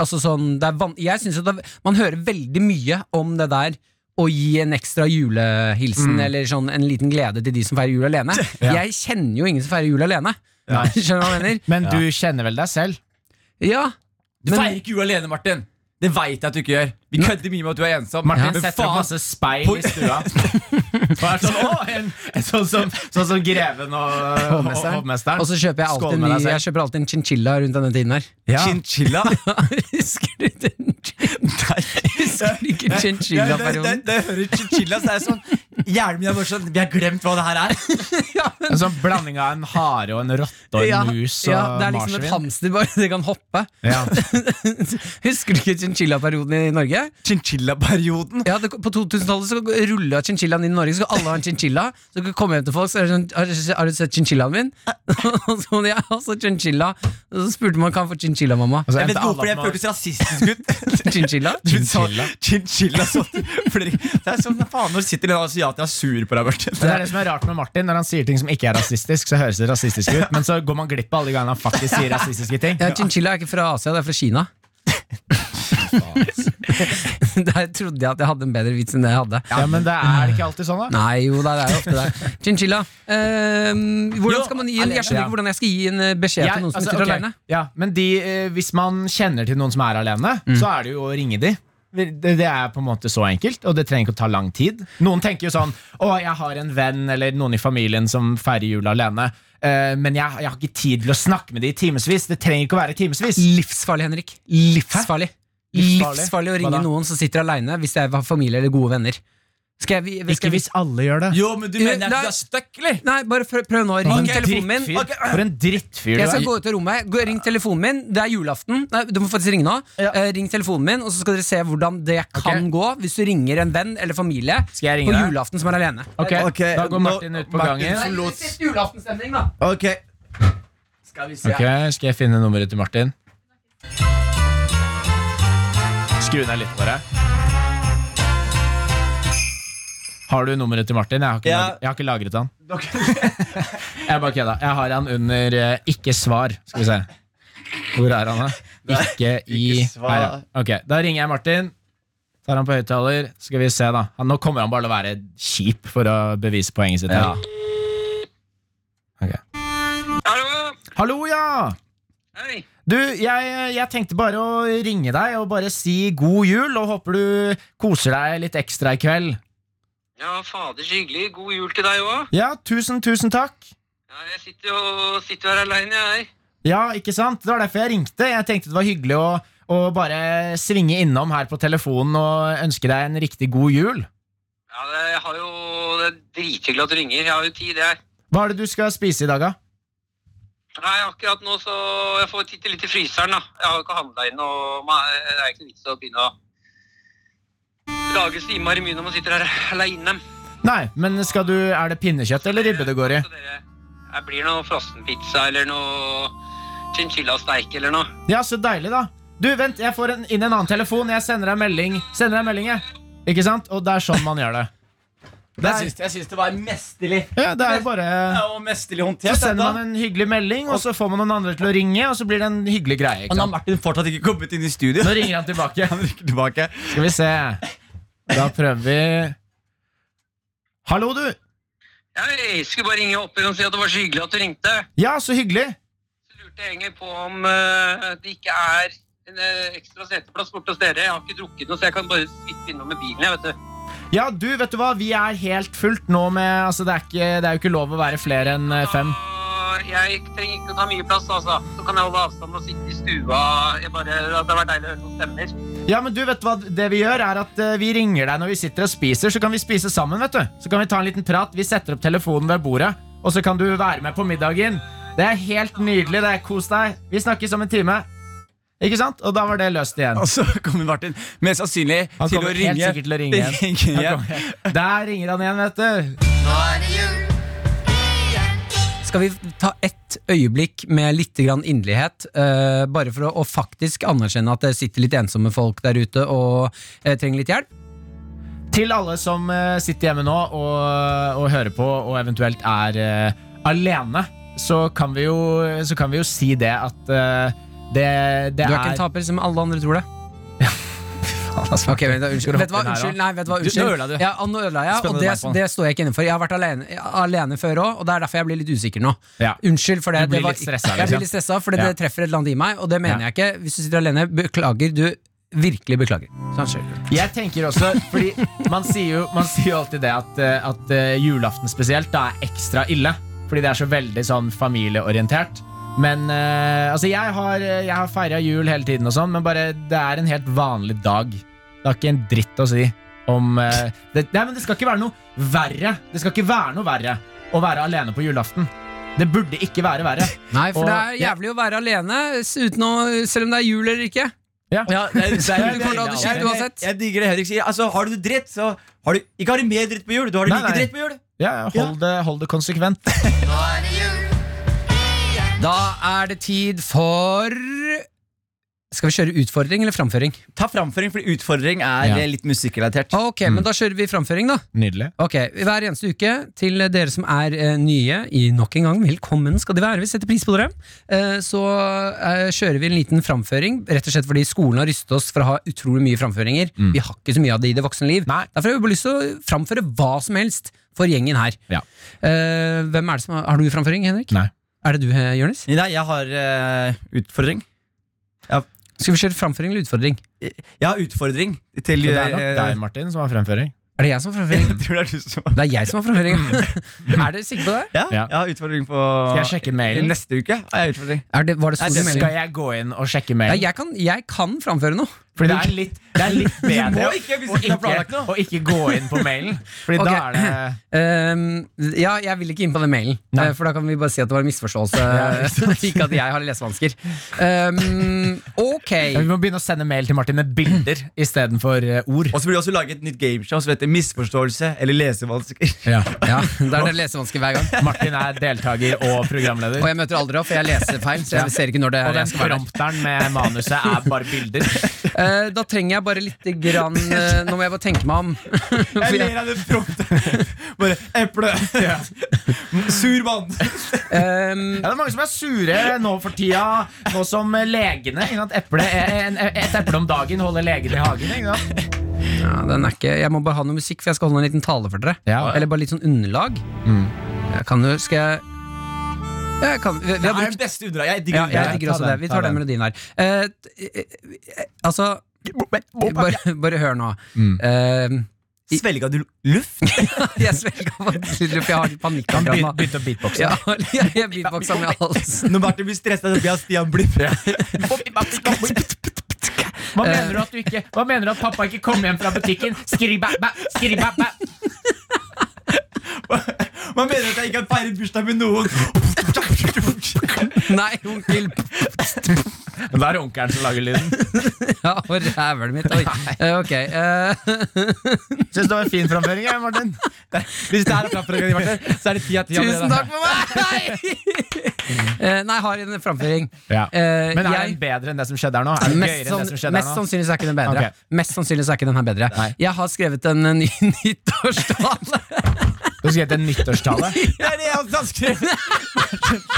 [SPEAKER 3] Altså sånn det er van Jeg synes at det, man hører veldig mye om det der å gi en ekstra julehilsen
[SPEAKER 5] Mm.
[SPEAKER 3] eller sånn en liten glede til de som feirer jul
[SPEAKER 5] [laughs]
[SPEAKER 3] alene. Jeg kjenner jo ingen som feirer jul alene.
[SPEAKER 5] Nei.
[SPEAKER 3] [laughs] Skjønner du hva jeg mener?
[SPEAKER 5] Men du kjenner vel deg selv?
[SPEAKER 3] Ja,
[SPEAKER 4] Du
[SPEAKER 3] men-
[SPEAKER 4] feirer ikke jul alene, Martin. Det veit jeg at du ikke gjør. Vi kødder mye med at du er ensom.
[SPEAKER 5] Martin
[SPEAKER 4] men
[SPEAKER 5] setter opp
[SPEAKER 4] faen,
[SPEAKER 5] masse speil i
[SPEAKER 3] [laughs]
[SPEAKER 5] stua. Og er sånn, «Å, en, en, sånn, som, sånn som greven og
[SPEAKER 3] Hovmesteren.
[SPEAKER 5] hovmesteren.
[SPEAKER 3] Og så kjøper jeg
[SPEAKER 5] Skål
[SPEAKER 3] alltid, en,
[SPEAKER 5] med deg
[SPEAKER 3] ny-
[SPEAKER 5] selv.
[SPEAKER 3] jeg kjøper alltid en chinchilla rundt denne tiden her. [laughs]
[SPEAKER 5] Ja.
[SPEAKER 4] [laughs] Chinchilla?
[SPEAKER 3] Husker du den? Husker du ikke
[SPEAKER 4] Ja, det- det-
[SPEAKER 3] chinchilla-perioden?
[SPEAKER 4] det- det- Jeg hører chinchilla, så er jeg sånn Hjernen min er bare sånn Vi har glemt hva det her er.
[SPEAKER 5] En sånn blanding av en hare og en rotte og en mus og
[SPEAKER 3] ja, det er liksom et
[SPEAKER 5] marsvin.
[SPEAKER 3] hamster bare, [laughs] det kan hoppe.
[SPEAKER 5] Ja.
[SPEAKER 3] [laughs] Husker du ikke chinchilla-perioden i Norge?
[SPEAKER 4] Chinchilla-perioden.
[SPEAKER 3] Ja, det, På 2000-tallet så rulla chinchillaen inn i Norge, så skulle alle ha en chinchilla. Så kunne jeg komme hjem til folk Så er det sånn, har, du- har du sett chinchillaen min? [laughs] Og så, ja, altså chinchilla. Og så spurte man kan jeg få chinchilla, mamma.
[SPEAKER 5] Altså, [laughs]
[SPEAKER 4] Jeg vet
[SPEAKER 5] endte
[SPEAKER 4] ikke
[SPEAKER 5] alle
[SPEAKER 4] hvorfor det
[SPEAKER 5] opp med å-
[SPEAKER 4] føltes rasistisk ut.
[SPEAKER 3] Chinchilla?
[SPEAKER 4] [laughs] Du sa
[SPEAKER 5] Chinchilla.
[SPEAKER 4] Chinchilla sånn. Fordi Det er sånn, faen, Når sitter en asiat og er sur på deg,
[SPEAKER 5] Men Det
[SPEAKER 4] Martin.
[SPEAKER 5] er det som er rart med Martin. Når han sier ting som ikke er rasistisk, så høres det rasistisk ut, men så går man glipp av alle de gangene han faktisk
[SPEAKER 3] [laughs]
[SPEAKER 5] sier rasistiske ting.
[SPEAKER 3] Ja, chinchilla er ikke fra Asia, det er fra
[SPEAKER 5] [laughs]
[SPEAKER 3] Kina. [laughs] Der trodde jeg at jeg hadde en bedre vits enn det jeg hadde.
[SPEAKER 5] Ja, men det er ikke alltid sånn, da.
[SPEAKER 3] Nei, jo da, det er jo ofte det. Chinchilla. ehm, hvordan
[SPEAKER 4] Jo,
[SPEAKER 3] skal man gi en, jeg skjønner
[SPEAKER 5] alene.
[SPEAKER 3] ikke hvordan jeg skal gi en eh, beskjed
[SPEAKER 5] Jeg-
[SPEAKER 3] til noen som
[SPEAKER 5] altså,
[SPEAKER 3] sitter
[SPEAKER 5] ok.
[SPEAKER 3] alene.
[SPEAKER 5] Ja, men de, eh, hvis man kjenner til noen som er alene, så er det jo å ringe de. Det, det er på en måte så enkelt, og det trenger ikke å ta lang tid. Noen tenker jo sånn Å, jeg har en venn eller noen i familien som feirer jul alene, eh, men jeg, jeg har ikke tid til å snakke med de i timevis. Det trenger ikke å være i timevis.
[SPEAKER 3] Livsfarlig, Henrik. Livsfarlig.
[SPEAKER 5] Livsfarlig?
[SPEAKER 3] Livsfarlig å
[SPEAKER 5] Hva
[SPEAKER 3] ringe
[SPEAKER 5] da?
[SPEAKER 3] noen som sitter alene, hvis jeg har familie eller gode venner. Skal jeg, vi- skal
[SPEAKER 5] Ikke
[SPEAKER 3] vi-
[SPEAKER 5] hvis alle gjør det.
[SPEAKER 4] Jo, men du mener at
[SPEAKER 3] Nei.
[SPEAKER 4] du er stuck, eller?
[SPEAKER 3] Nei, bare prøv, prøv nå. Ring
[SPEAKER 5] Ok.
[SPEAKER 3] telefonen min.
[SPEAKER 5] Drittfyr. For en drittfyr du
[SPEAKER 3] Jeg
[SPEAKER 5] er.
[SPEAKER 3] skal gå ut av rommet. Gå, ring telefonen min. Det er julaften. Nei, du må faktisk ringe nå.
[SPEAKER 5] Ja.
[SPEAKER 3] Eh, ring telefonen min, og så skal dere se hvordan det kan gå hvis du ringer en venn eller familie
[SPEAKER 5] Skal jeg ringe
[SPEAKER 3] på
[SPEAKER 5] deg?
[SPEAKER 3] julaften som er alene.
[SPEAKER 5] Ok,
[SPEAKER 4] Ok,
[SPEAKER 5] Da går
[SPEAKER 4] nå-
[SPEAKER 5] Martin ut på
[SPEAKER 4] Martin-
[SPEAKER 5] gangen.
[SPEAKER 4] Nei, litt
[SPEAKER 3] julaftenstemning, da.
[SPEAKER 4] Ok Skal vi se
[SPEAKER 5] Ok, Skal jeg finne nummeret til Martin? Skru ned litt, bare. Har du nummeret til Martin? Jeg har ikke,
[SPEAKER 4] Ja.
[SPEAKER 5] lagret, jeg har ikke lagret
[SPEAKER 4] [laughs]
[SPEAKER 5] han. jeg bare kødda. Jeg har han under eh, 'ikke svar'. Skal vi se. Hvor er
[SPEAKER 4] [laughs]
[SPEAKER 5] han, da? Ikke i
[SPEAKER 4] ikke svar.
[SPEAKER 5] Her, ja. Ok, Da ringer jeg Martin. Tar han på høyttaler. Skal vi se, da. Han, nå kommer han bare til å være kjip for å bevise poenget sitt. her. Ok.
[SPEAKER 6] Hallo!
[SPEAKER 5] Hallo, ja!
[SPEAKER 6] Hei!
[SPEAKER 5] Du, jeg, jeg tenkte bare å ringe deg og bare si god jul, og håper du koser deg litt ekstra i kveld.
[SPEAKER 6] Ja, fader, så hyggelig. God jul til deg òg.
[SPEAKER 5] Ja, tusen, tusen takk.
[SPEAKER 6] Ja, jeg sitter jo sitter her aleine, jeg.
[SPEAKER 5] Ja, ikke sant? Det var derfor jeg ringte. Jeg tenkte det var hyggelig å, å bare svinge innom her på telefonen og ønske deg en riktig god jul.
[SPEAKER 6] Ja, det, jeg har jo, det er drithyggelig at du ringer. Jeg har jo tid, jeg.
[SPEAKER 5] Hva er det du skal spise i dag, da?
[SPEAKER 6] Nei, akkurat nå så Jeg får titte litt i fryseren, da. Jeg har jo ikke handla inn, og ma- det er ikke noe vits å begynne å lage så innmari mye når man sitter her aleine.
[SPEAKER 5] Nei, men skal du, er det pinnekjøtt eller ribbe det går i?
[SPEAKER 6] Det blir noe frossenpizza eller noe chinchillasteik eller noe.
[SPEAKER 5] Ja, så deilig, da. Du, vent, jeg får en, inn en annen telefon. Jeg sender deg en melding. Sender deg en melding, jeg. Ikke sant? Og det er sånn man [laughs] gjør det.
[SPEAKER 4] Jeg syns, jeg syns det var mesterlig.
[SPEAKER 5] Ja, det er jo bare
[SPEAKER 4] Det var mesterlig håndtert.
[SPEAKER 5] Så sender
[SPEAKER 4] dette.
[SPEAKER 5] man en hyggelig melding, og så får man noen andre til å ringe, og så blir det en hyggelig
[SPEAKER 4] Og
[SPEAKER 5] greie.
[SPEAKER 4] nå
[SPEAKER 5] Ikke
[SPEAKER 4] har
[SPEAKER 5] sant?
[SPEAKER 4] Martin fortsatt ikke kommet inn i studio.
[SPEAKER 5] Nå ringer han tilbake.
[SPEAKER 4] [laughs] Han rykker tilbake.
[SPEAKER 5] [laughs] Skal vi se. Da prøver vi Hallo, du!
[SPEAKER 6] Jeg skulle bare ringe opp igjen og si at det var så hyggelig at du ringte.
[SPEAKER 5] Ja, så hyggelig.
[SPEAKER 6] Så lurte jeg egentlig på om eh, det ikke er en eh, ekstra seteplass borte hos dere. Jeg har ikke drukket noe, så jeg kan bare svippe innom med bilen. jeg, vet du.
[SPEAKER 5] Ja, du, vet du hva? Vi er helt fullt nå med Altså, det er, ikke, det er jo ikke lov å være flere enn eh, fem.
[SPEAKER 6] Og jeg trenger ikke å ta mye plass, altså. Så kan jeg holde avstand og sitte i stua. Jeg bare, det hadde vært deilig å høre noen stemmer.
[SPEAKER 5] Ja, men du, vet du hva? Det vi gjør, er at eh, vi ringer deg når vi sitter og spiser, så kan vi spise sammen, vet du. Så kan vi ta en liten prat. Vi setter opp telefonen ved bordet, og så kan du være med på middagen. Det er helt nydelig. det er Kos deg. Vi snakkes om en time. Ikke sant? Og da var det løst igjen.
[SPEAKER 4] Og så kommer Martin mest sannsynlig
[SPEAKER 5] Han
[SPEAKER 4] til å
[SPEAKER 5] kommer
[SPEAKER 4] ringe.
[SPEAKER 5] helt sikkert til å ringe igjen.
[SPEAKER 4] [laughs] Ringe igjen.
[SPEAKER 5] Der ringer han igjen, vet du.
[SPEAKER 3] Skal vi ta ett øyeblikk med litt grann inderlighet, eh, bare for å, å faktisk anerkjenne at det sitter litt ensomme folk der ute og eh, trenger litt hjelp?
[SPEAKER 5] Til alle som eh, sitter hjemme nå og, og hører på og eventuelt er eh, alene, så kan, vi jo, så kan vi jo si det at eh, det, det
[SPEAKER 3] Du er
[SPEAKER 5] er,
[SPEAKER 3] ikke en taper, som alle andre [laughs] tror det.
[SPEAKER 5] altså.
[SPEAKER 3] Ok, vent, da, unnskyld.
[SPEAKER 5] Skal du
[SPEAKER 3] Vet du hva,
[SPEAKER 5] hoppe inn her,
[SPEAKER 3] unnskyld, nei, vet du hva,
[SPEAKER 5] Du-
[SPEAKER 3] unnskyld.
[SPEAKER 5] nå ødela du.
[SPEAKER 3] Ja, nå ødela jeg,
[SPEAKER 5] Spennende
[SPEAKER 3] og det,
[SPEAKER 5] meg på.
[SPEAKER 3] det står jeg ikke inne for. Jeg har vært alene, alene før òg, og det er derfor jeg blir litt usikker nå.
[SPEAKER 5] Ja.
[SPEAKER 3] Unnskyld for det.
[SPEAKER 5] Du blir
[SPEAKER 3] det var,
[SPEAKER 5] litt stressa,
[SPEAKER 3] Jeg
[SPEAKER 5] liksom.
[SPEAKER 3] blir litt stressa, for det,
[SPEAKER 5] Ja.
[SPEAKER 3] det treffer et eller annet i meg, og det mener
[SPEAKER 5] Ja.
[SPEAKER 3] jeg ikke. Hvis du sitter alene, beklager. Du virkelig beklager. Sånn, unnskyld.
[SPEAKER 5] Jeg tenker også, fordi man sier jo, man sier jo alltid det at, eh, at eh, julaften spesielt da er ekstra ille. Fordi det er så veldig sånn familieorientert. Men eh, altså jeg har, jeg har feira jul hele tiden, og sånn men bare det er en helt vanlig dag. Det har ikke en dritt å si. om eh, det, Nei, men det skal ikke være noe verre. Det skal ikke være noe verre å være alene på julaften. Det burde ikke være verre.
[SPEAKER 3] Nei, for
[SPEAKER 5] Og-
[SPEAKER 3] det er jævlig å være alene, s- uten å, selv om det er jul eller ikke.
[SPEAKER 5] Ja.
[SPEAKER 4] Ja, det er- det er-
[SPEAKER 5] Du kommer til å ha det
[SPEAKER 3] kjipt
[SPEAKER 4] Jeg-
[SPEAKER 3] uansett.
[SPEAKER 4] Jeg digger det Henrik sier. Altså, Har du det dritt, så har du Ikke har du mer dritt på jul, du har det
[SPEAKER 5] Nei,
[SPEAKER 4] like
[SPEAKER 5] nei.
[SPEAKER 4] dritt på jul.
[SPEAKER 5] Ja, hold, det, hold det konsekvent.
[SPEAKER 3] Da er det tid for Skal vi kjøre utfordring eller framføring?
[SPEAKER 4] Ta framføring, for utfordring er
[SPEAKER 5] Ja.
[SPEAKER 4] eh, litt musikkrelatert.
[SPEAKER 3] Ok,
[SPEAKER 5] Mm.
[SPEAKER 3] men da kjører vi framføring, da.
[SPEAKER 5] Nydelig.
[SPEAKER 3] Ok, Hver eneste uke til dere som er eh, nye i nok en gang, velkommen skal de være. Vi setter pris på dere. Eh, så eh, kjører vi en liten framføring, rett og slett fordi skolen har rystet oss for å ha utrolig mye framføringer. Vi har ikke så mye av det i det voksne liv.
[SPEAKER 5] Nei.
[SPEAKER 3] Derfor har vi bare lyst til å framføre hva som helst for gjengen her.
[SPEAKER 5] Ja.
[SPEAKER 3] Eh, hvem er det som har, har du framføring, Henrik?
[SPEAKER 5] Nei.
[SPEAKER 3] Er det du, eh, Jonis?
[SPEAKER 4] Nei, jeg har eh, utfordring.
[SPEAKER 3] Skal vi kjøre framføring eller utfordring?
[SPEAKER 4] Jeg har utfordring til
[SPEAKER 5] Så det er nok
[SPEAKER 4] eh,
[SPEAKER 5] deg, Martin, som har fremføring.
[SPEAKER 3] Er det jeg som har framføring?
[SPEAKER 4] [laughs] Jeg tror det er du som
[SPEAKER 3] Det er jeg som har [laughs] framføring. er dere sikre på det?
[SPEAKER 4] ja,
[SPEAKER 5] Ja.
[SPEAKER 4] Jeg har utfordring på
[SPEAKER 5] Skal jeg sjekke mailen?
[SPEAKER 4] Neste uke har jeg utfordring.
[SPEAKER 3] Er det var det
[SPEAKER 4] Nei,
[SPEAKER 3] store
[SPEAKER 4] det
[SPEAKER 3] melding?
[SPEAKER 5] Skal jeg gå inn og sjekke
[SPEAKER 3] Ja,
[SPEAKER 5] mailen?
[SPEAKER 3] jeg, kan, jeg kan framføre noe.
[SPEAKER 5] Fordi det er litt, det er [laughs] litt bedre
[SPEAKER 4] må ikke hvis
[SPEAKER 5] å
[SPEAKER 4] ikke du har planlagt
[SPEAKER 5] ikke,
[SPEAKER 4] noe.
[SPEAKER 5] å ikke gå inn på mailen. Fordi da
[SPEAKER 3] Ok.
[SPEAKER 5] er det
[SPEAKER 3] Ehm, ja, jeg vil ikke inn på den mailen,
[SPEAKER 5] Nei.
[SPEAKER 3] eh, for da kan vi bare si at det var en misforståelse. [laughs] ikke at jeg har lesevansker. Ehm,
[SPEAKER 5] [clears throat] ja, Vi
[SPEAKER 3] ok.
[SPEAKER 5] må begynne å sende mail til Martin med bilder [clears throat] istedenfor eh, ord.
[SPEAKER 4] Og så blir det også laget et nytt gameshow som heter Misforståelse eller lesevansker.
[SPEAKER 3] Ja, Da er det lesevansker hver gang.
[SPEAKER 5] [laughs] Martin er deltaker og programleder.
[SPEAKER 3] Og jeg møter aldri opp, for jeg leser feil. Så jeg ser ikke når det
[SPEAKER 5] Og
[SPEAKER 3] er jeg
[SPEAKER 5] den
[SPEAKER 3] skal være der.
[SPEAKER 5] prompteren med manuset er bare bilder. [laughs]
[SPEAKER 3] Eh, Da trenger jeg bare lite grann eh, Nå må jeg bare tenke meg om. For
[SPEAKER 4] [laughs] Jeg
[SPEAKER 3] jeg,
[SPEAKER 4] ler av det
[SPEAKER 5] [laughs]
[SPEAKER 4] promptet. Bare eple. Sur mann.
[SPEAKER 3] ehm,
[SPEAKER 5] Ja, det er mange som er sure nå for tida, nå som legene ikke sant? Eple, eh, en, Et eple om dagen holder legene i hagen. Ikke sant?
[SPEAKER 3] ja, den er ikke Jeg må bare ha noe musikk, for jeg skal holde en liten tale for dere.
[SPEAKER 5] Ja.
[SPEAKER 3] Eller bare litt sånn underlag. Jeg kan jo Skal jeg jeg kan, vi, vi
[SPEAKER 4] Det
[SPEAKER 3] har
[SPEAKER 4] er
[SPEAKER 3] brukt
[SPEAKER 4] den beste undera. Jeg digger
[SPEAKER 3] Ja,
[SPEAKER 4] underlaget.
[SPEAKER 3] jeg
[SPEAKER 5] Ja,
[SPEAKER 3] digger
[SPEAKER 5] ta
[SPEAKER 3] også
[SPEAKER 5] den,
[SPEAKER 3] det. Vi
[SPEAKER 5] ta
[SPEAKER 3] tar den
[SPEAKER 5] den.
[SPEAKER 3] melodien her. Eh, t- eh, eh, altså bare, bare hør nå.
[SPEAKER 5] Mm.
[SPEAKER 3] Eh,
[SPEAKER 4] Svelga du luft?
[SPEAKER 3] [laughs] jeg svelga faktisk litt, for jeg har litt panikkangrann nå.
[SPEAKER 5] Begynte å beatboxe.
[SPEAKER 3] Ja, [laughs] jeg jeg beatboxa med halsen.
[SPEAKER 4] Når Martin blir stressa, så blir han Stian Blipp.
[SPEAKER 5] Hva mener du at du ikke Hva mener du at pappa ikke kom hjem fra butikken? Skribæ-bæ, skribæ-bæ.
[SPEAKER 4] [laughs] Man mener at jeg ikke har feiret bursdag med noen.
[SPEAKER 3] Nei, onkel
[SPEAKER 5] Da er det onkelen som lager lyden.
[SPEAKER 3] Ja, og rævelen mitt. Oi. Eh, ok. eh,
[SPEAKER 5] Syns det var en fin framføring, jeg, Martin.
[SPEAKER 4] [laughs] Hvis det her er framføringen, Martin, så er det ti av ti.
[SPEAKER 3] tusen takk for
[SPEAKER 5] [laughs]
[SPEAKER 3] meg! Eh, nei, jeg har en framføring. Eh,
[SPEAKER 5] Men er
[SPEAKER 3] jeg-
[SPEAKER 5] den bedre enn det som skjedde her nå? Er den
[SPEAKER 3] Mest,
[SPEAKER 5] gøyere enn det som
[SPEAKER 3] sann-
[SPEAKER 5] skjedde
[SPEAKER 3] mest
[SPEAKER 5] her nå?
[SPEAKER 3] sannsynlig så er ikke den bedre.
[SPEAKER 5] Ok.
[SPEAKER 3] Mest sannsynlig så er ikke den her bedre. Jeg har skrevet en eh, ny [laughs] nyttårstale.
[SPEAKER 5] Du skal hete nyttårstale.
[SPEAKER 4] Det er det jeg også har
[SPEAKER 5] [laughs]
[SPEAKER 4] skrevet.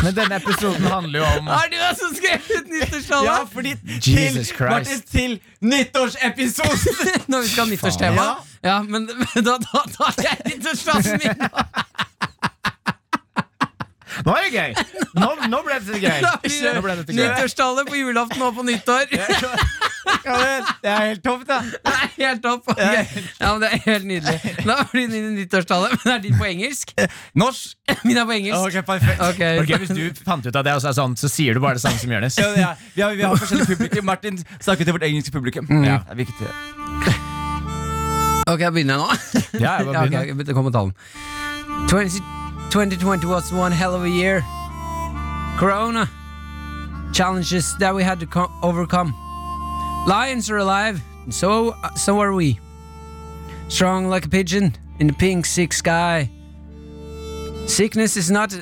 [SPEAKER 5] Men denne episoden handler jo om
[SPEAKER 3] Har du også skrevet nyttårstale?
[SPEAKER 4] Ja, fordi til,
[SPEAKER 5] Jesus Christ.
[SPEAKER 4] Martin, til nyttårsepisoden.
[SPEAKER 3] [laughs] Når vi skal ha nyttårstema.
[SPEAKER 4] Ja.
[SPEAKER 3] Ja, men, men da da- da tar jeg nyttårsplassen min!
[SPEAKER 5] Nå er det gøy! Nå, nå ble dette gøy.
[SPEAKER 3] Da blir
[SPEAKER 5] Nå ble
[SPEAKER 3] det
[SPEAKER 5] dette gøy.
[SPEAKER 3] Nyttårstallet på julaften og på nyttår. [laughs]
[SPEAKER 4] Ja, men, det er helt topp, da.
[SPEAKER 3] Det er helt topp. ok. Ja, men Det er helt nydelig. Da blir det nyttårstallet. Men er din på engelsk?
[SPEAKER 4] Norsk.
[SPEAKER 3] Min er på engelsk.
[SPEAKER 4] Ok, perfekt.
[SPEAKER 3] Ok,
[SPEAKER 5] Ok, Hvis du fant ut av det, og så er det sånn, så sier du bare det samme som Jonis.
[SPEAKER 4] Ja, ja. Vi, har, vi har forskjellig publikum. Martin snakker til vårt engelske publikum.
[SPEAKER 3] Mm.
[SPEAKER 4] Ja, det er viktig.
[SPEAKER 3] ok, da begynner jeg nå.
[SPEAKER 5] Ja, jeg
[SPEAKER 3] Ja,
[SPEAKER 5] bare
[SPEAKER 3] ok,
[SPEAKER 5] begynner.
[SPEAKER 3] ok, det kommer talen. 20, 2020 was one hell of a year. Corona. Challenges that we had to co- overcome. Lions are alive, and so, uh, so are we. Strong like a pigeon in the pink sick sky. Sickness is not.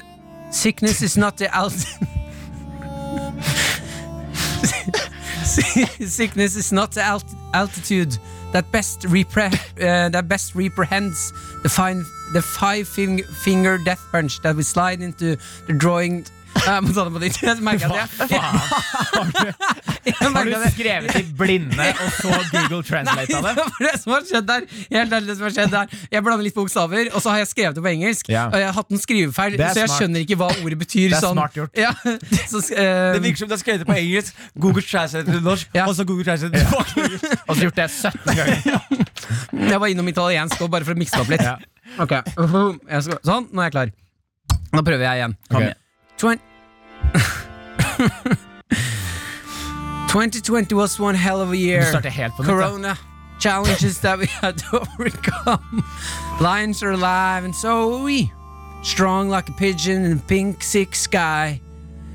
[SPEAKER 3] Sickness is not the out. [laughs] sickness is not the alt- altitude that best repre- uh, that best reprehends the fine the five fing- finger death punch that we slide into the drawing Ah, [laughs] Jeg må ta det på nytt. Jeg merker at [laughs] jeg-
[SPEAKER 5] [laughs]
[SPEAKER 3] Jeg
[SPEAKER 5] Har
[SPEAKER 3] merker
[SPEAKER 5] du
[SPEAKER 3] at jeg-
[SPEAKER 5] skrevet i blinde, og så Google translate av
[SPEAKER 3] Nei,
[SPEAKER 5] det?
[SPEAKER 3] det var det som har skjedd der. Helt ærlig, det som har skjedd der. Jeg blander litt bokstaver, og så har jeg skrevet det på engelsk.
[SPEAKER 5] Ja.
[SPEAKER 3] Og jeg har hatt en skrivefeil,
[SPEAKER 5] Det er
[SPEAKER 3] så jeg
[SPEAKER 5] smart.
[SPEAKER 3] skjønner ikke hva ordet betyr.
[SPEAKER 5] Det er
[SPEAKER 3] sånn.
[SPEAKER 5] smart gjort.
[SPEAKER 3] Ja. Så, eh,
[SPEAKER 4] Det virker som du har skrevet det på engelsk, Google translate til norsk,
[SPEAKER 3] Ja.
[SPEAKER 4] og så Google translate til
[SPEAKER 5] Og så gjort det 17
[SPEAKER 4] [laughs]
[SPEAKER 5] ganger.
[SPEAKER 3] eh, jeg var innom italiensk og bare for å mikse det opp litt.
[SPEAKER 5] Ja.
[SPEAKER 3] Ok, jeg skal, Sånn, nå er jeg klar. Da prøver jeg igjen.
[SPEAKER 5] Kom
[SPEAKER 4] Ok.
[SPEAKER 5] igjen.
[SPEAKER 3] Twen- [laughs] 2020 was one hell of a
[SPEAKER 5] Du
[SPEAKER 3] year.
[SPEAKER 5] starter helt på nytt. da.
[SPEAKER 3] Corona. challenges that we had to [laughs] overcome. Lions are alive, and so are we. Strong like a pigeon in a pink, sick sky.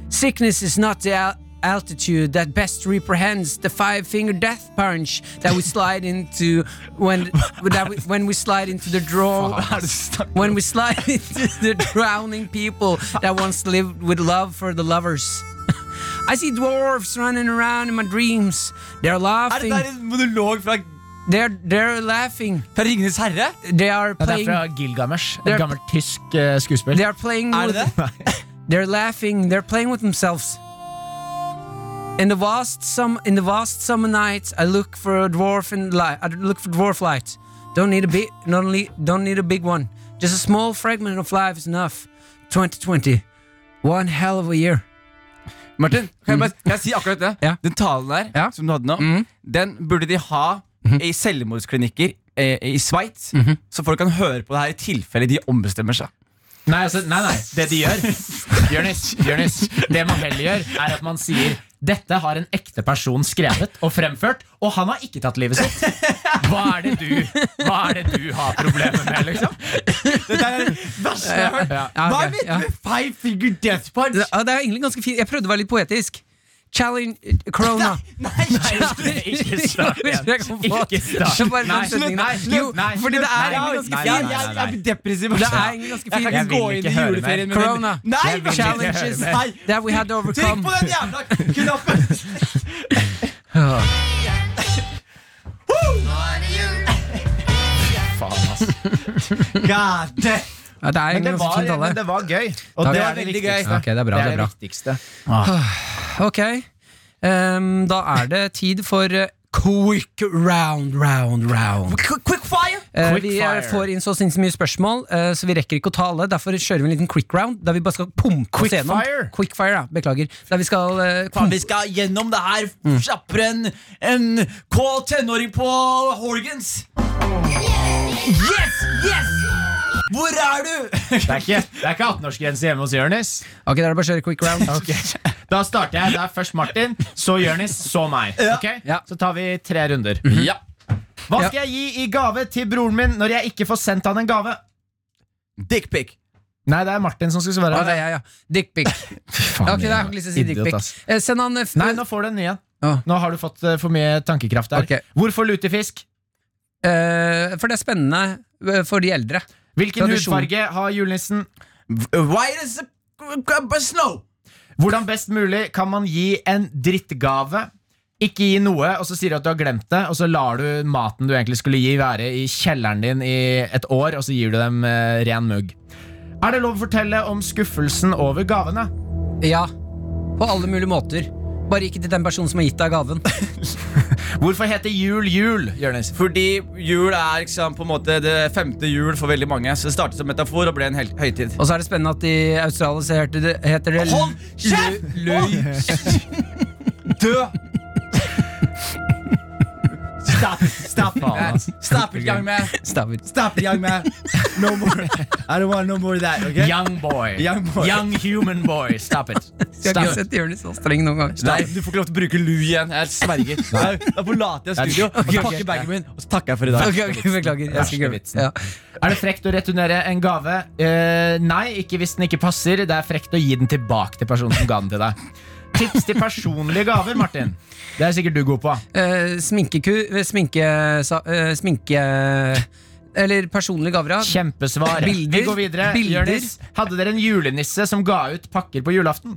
[SPEAKER 3] Sickness is not the al- altitude that best reprehends the five-finger death punch that we slide into when that we, when we slide into the
[SPEAKER 5] [laughs]
[SPEAKER 3] draw
[SPEAKER 4] Hva er det du snakker om?
[SPEAKER 3] when we slide [laughs] into the drowning people that once lived with love for the lovers. [laughs] I see dwarves running around in my dreams. They're
[SPEAKER 4] Er det
[SPEAKER 3] laughing.
[SPEAKER 4] der en monolog fra,
[SPEAKER 3] They're they're laughing.
[SPEAKER 4] fra Ringenes herre?
[SPEAKER 3] They are
[SPEAKER 5] Det er
[SPEAKER 3] playing.
[SPEAKER 5] fra Gilgamesh,
[SPEAKER 3] Det
[SPEAKER 5] et
[SPEAKER 3] er-
[SPEAKER 5] gammelt tysk eh, skuespill.
[SPEAKER 3] They are playing
[SPEAKER 4] Er
[SPEAKER 3] with.
[SPEAKER 4] det det?
[SPEAKER 3] They're laughing. They're playing with themselves. In the vast sum, in the vast summer nights, I look for a dwarf and light. I look for dwarf light. Don't need a big, not only don't need a big one. Just a small fragment of life is enough. 2020, one hell of a year.
[SPEAKER 4] Martin, kan jeg, bare, kan jeg si akkurat det?
[SPEAKER 3] Mm. Ja.
[SPEAKER 4] Den talen der
[SPEAKER 3] Ja. Mm. Mm-hmm.
[SPEAKER 4] som du hadde nå, den burde de ha i selvmordsklinikker eh, i Sveits, så folk kan høre på det her i tilfelle de ombestemmer
[SPEAKER 3] [laughs]
[SPEAKER 4] seg.
[SPEAKER 5] Nei, altså, nei, nei, det de gjør Jørnis, Jørnis, det man heller gjør Er at man sier Dette har en ekte person skrevet og fremført Og han har ikke tatt livet sitt Hva er det du, hva er det du har problemer med, liksom?
[SPEAKER 4] Dette er det verste jeg har hørt.
[SPEAKER 5] Ja,
[SPEAKER 3] ja,
[SPEAKER 4] Hva
[SPEAKER 3] ok,
[SPEAKER 4] vet du
[SPEAKER 3] ja.
[SPEAKER 4] med five finger death punch?
[SPEAKER 3] Det, ja, det er egentlig ganske fint. Jeg prøvde å være litt poetisk. Challenge eh,
[SPEAKER 5] [laughs]
[SPEAKER 3] Corona.
[SPEAKER 4] Nei,
[SPEAKER 5] Ikke start
[SPEAKER 3] [laughs] Hvis
[SPEAKER 5] igjen.
[SPEAKER 3] jeg kan få-
[SPEAKER 5] Ikke start.
[SPEAKER 3] Så bare den
[SPEAKER 5] Nei,
[SPEAKER 3] setningen der.
[SPEAKER 5] nei, slutt,
[SPEAKER 3] Jo,
[SPEAKER 5] nei,
[SPEAKER 3] fordi det
[SPEAKER 5] slutt,
[SPEAKER 3] er
[SPEAKER 5] nei,
[SPEAKER 3] egentlig ganske
[SPEAKER 5] nei,
[SPEAKER 3] fint.
[SPEAKER 5] nei,
[SPEAKER 4] Jeg,
[SPEAKER 5] nei,
[SPEAKER 4] jeg blir depressiv.
[SPEAKER 3] Det er egentlig ganske
[SPEAKER 4] Jeg kan
[SPEAKER 3] fint.
[SPEAKER 4] ikke
[SPEAKER 5] Jeg
[SPEAKER 4] gå
[SPEAKER 5] vil
[SPEAKER 4] inn
[SPEAKER 5] ikke
[SPEAKER 4] i
[SPEAKER 5] høre mer.
[SPEAKER 4] juleferien med
[SPEAKER 3] Corona.
[SPEAKER 4] den. Nei,
[SPEAKER 5] Jeg vil ikke høre
[SPEAKER 3] Challenges
[SPEAKER 5] mer.
[SPEAKER 4] Nei.
[SPEAKER 3] that we had to
[SPEAKER 4] Trykk
[SPEAKER 3] overcome.
[SPEAKER 4] på den jævla knappen!
[SPEAKER 5] Faen, ass
[SPEAKER 4] God damn.
[SPEAKER 3] Ja, det er
[SPEAKER 5] Men det
[SPEAKER 3] egentlig ganske
[SPEAKER 5] var,
[SPEAKER 3] fint alle.
[SPEAKER 5] men det var gøy Og
[SPEAKER 3] Takk.
[SPEAKER 5] det
[SPEAKER 3] Det
[SPEAKER 5] er det
[SPEAKER 4] veldig gøy.
[SPEAKER 5] viktigste
[SPEAKER 3] Ok, det er bra, det er bra.
[SPEAKER 5] viktigste
[SPEAKER 3] Ok, ehm, da er det tid for eh, Quick round, round, round.
[SPEAKER 4] Qu- Quick fire!
[SPEAKER 3] Eh,
[SPEAKER 5] Quick
[SPEAKER 3] vi eh,
[SPEAKER 5] fire.
[SPEAKER 3] får inn så sinnssykt mye spørsmål, eh, så vi rekker ikke å ta alle. Derfor kjører vi en liten quick round, der vi bare skal pumpe
[SPEAKER 5] Quick
[SPEAKER 3] oss gjennom.
[SPEAKER 5] fire?
[SPEAKER 3] Quick fire, ja, beklager. Der vi skal eh,
[SPEAKER 4] Faen,
[SPEAKER 3] pumpe
[SPEAKER 4] vi skal gjennom det her
[SPEAKER 3] Mm.
[SPEAKER 4] kjappere enn en kål tenåring på Horgans. Yes! Yes! Hvor er du? [laughs]
[SPEAKER 5] Det er ikke, det er ikke 18-årsgrense hjemme hos Jørnis
[SPEAKER 3] Ok, da er det bare å kjøre quick round.
[SPEAKER 5] Da starter jeg, det er først Martin Så Jørnis, så meg Ok?
[SPEAKER 3] Ja. Mhm.
[SPEAKER 5] Så tar vi tre runder
[SPEAKER 4] Ja.
[SPEAKER 5] Hva skal jeg gi i gave til broren min når jeg ikke får sendt han en gave?
[SPEAKER 4] Dickpic.
[SPEAKER 5] Nei, det er Martin som skal svare.
[SPEAKER 3] Ah, det er jeg, ja. Dickpic. Ok, da har jeg ikke lyst til å si
[SPEAKER 5] Idiot,
[SPEAKER 3] dickpic.
[SPEAKER 5] ass.
[SPEAKER 3] Eh, send han eh, f-
[SPEAKER 5] Nei, nå får du en ny en.
[SPEAKER 3] Åh.
[SPEAKER 5] Nå har du fått eh, for mye tankekraft der.
[SPEAKER 3] Ok.
[SPEAKER 5] Hvorfor lutefisk?
[SPEAKER 3] eh, For det er spennende eh, for de eldre.
[SPEAKER 5] Hvilken
[SPEAKER 3] Tradisjon.
[SPEAKER 5] hudfarge har julenissen?
[SPEAKER 4] Why is it snow?
[SPEAKER 5] Hvordan best mulig kan man gi en drittgave? Ikke gi noe, og så sier du at du har glemt det, og så lar du maten du egentlig skulle gi, være i kjelleren din i et år, og så gir du dem eh, ren mugg. Er det lov å fortelle om skuffelsen over gavene?
[SPEAKER 3] Ja. På alle mulige måter. Bare ikke til den personen som har gitt deg gaven.
[SPEAKER 5] Hvorfor heter jul
[SPEAKER 4] [laughs]
[SPEAKER 5] jul, Jonis?
[SPEAKER 4] Fordi jul er liksom, på en måte det femte jul for veldig mange. Så det startet som metafor og ble en hel høytid.
[SPEAKER 3] Og så er det spennende at i Australia så heter det, heter det
[SPEAKER 4] Hold kjeft!
[SPEAKER 3] Lu-
[SPEAKER 4] [laughs]
[SPEAKER 3] Lui-
[SPEAKER 4] Dø! Stop, stop, stop it, young man.
[SPEAKER 3] Stavir.
[SPEAKER 4] Stop it, young man. No more. I don't want no more of that. Okay?
[SPEAKER 5] Young boy.
[SPEAKER 4] Young boy.
[SPEAKER 5] Young human boy. Stop
[SPEAKER 4] [laughs]
[SPEAKER 5] it.
[SPEAKER 3] Jeg har
[SPEAKER 5] Stop
[SPEAKER 3] ikke
[SPEAKER 5] it.
[SPEAKER 3] sett Jonis så streng noen gang.
[SPEAKER 4] Nei, du får ikke lov til å bruke lu igjen. Jeg sverger. Nei, Da forlater jeg studio og
[SPEAKER 3] Ok, ok.
[SPEAKER 4] pakker bagen min, og så takker jeg for i dag.
[SPEAKER 3] Ok, ok, Beklager. Jeg skal ikke
[SPEAKER 5] vitsen.
[SPEAKER 3] ja.
[SPEAKER 5] Er det frekt å returnere en gave? Eh, nei, ikke hvis den ikke passer. Det er frekt å gi den tilbake til personen som ga den til deg. Tips til personlige gaver, Martin. Det er sikkert du god på.
[SPEAKER 3] Eh, Sminkeku eh, Sminke... sa- eh, sminke eller personlige gaver. ja.
[SPEAKER 5] Kjempesvar.
[SPEAKER 3] Bilder.
[SPEAKER 5] Vi går videre.
[SPEAKER 3] Bilder.
[SPEAKER 5] Jonis, hadde dere en julenisse som ga ut pakker på julaften?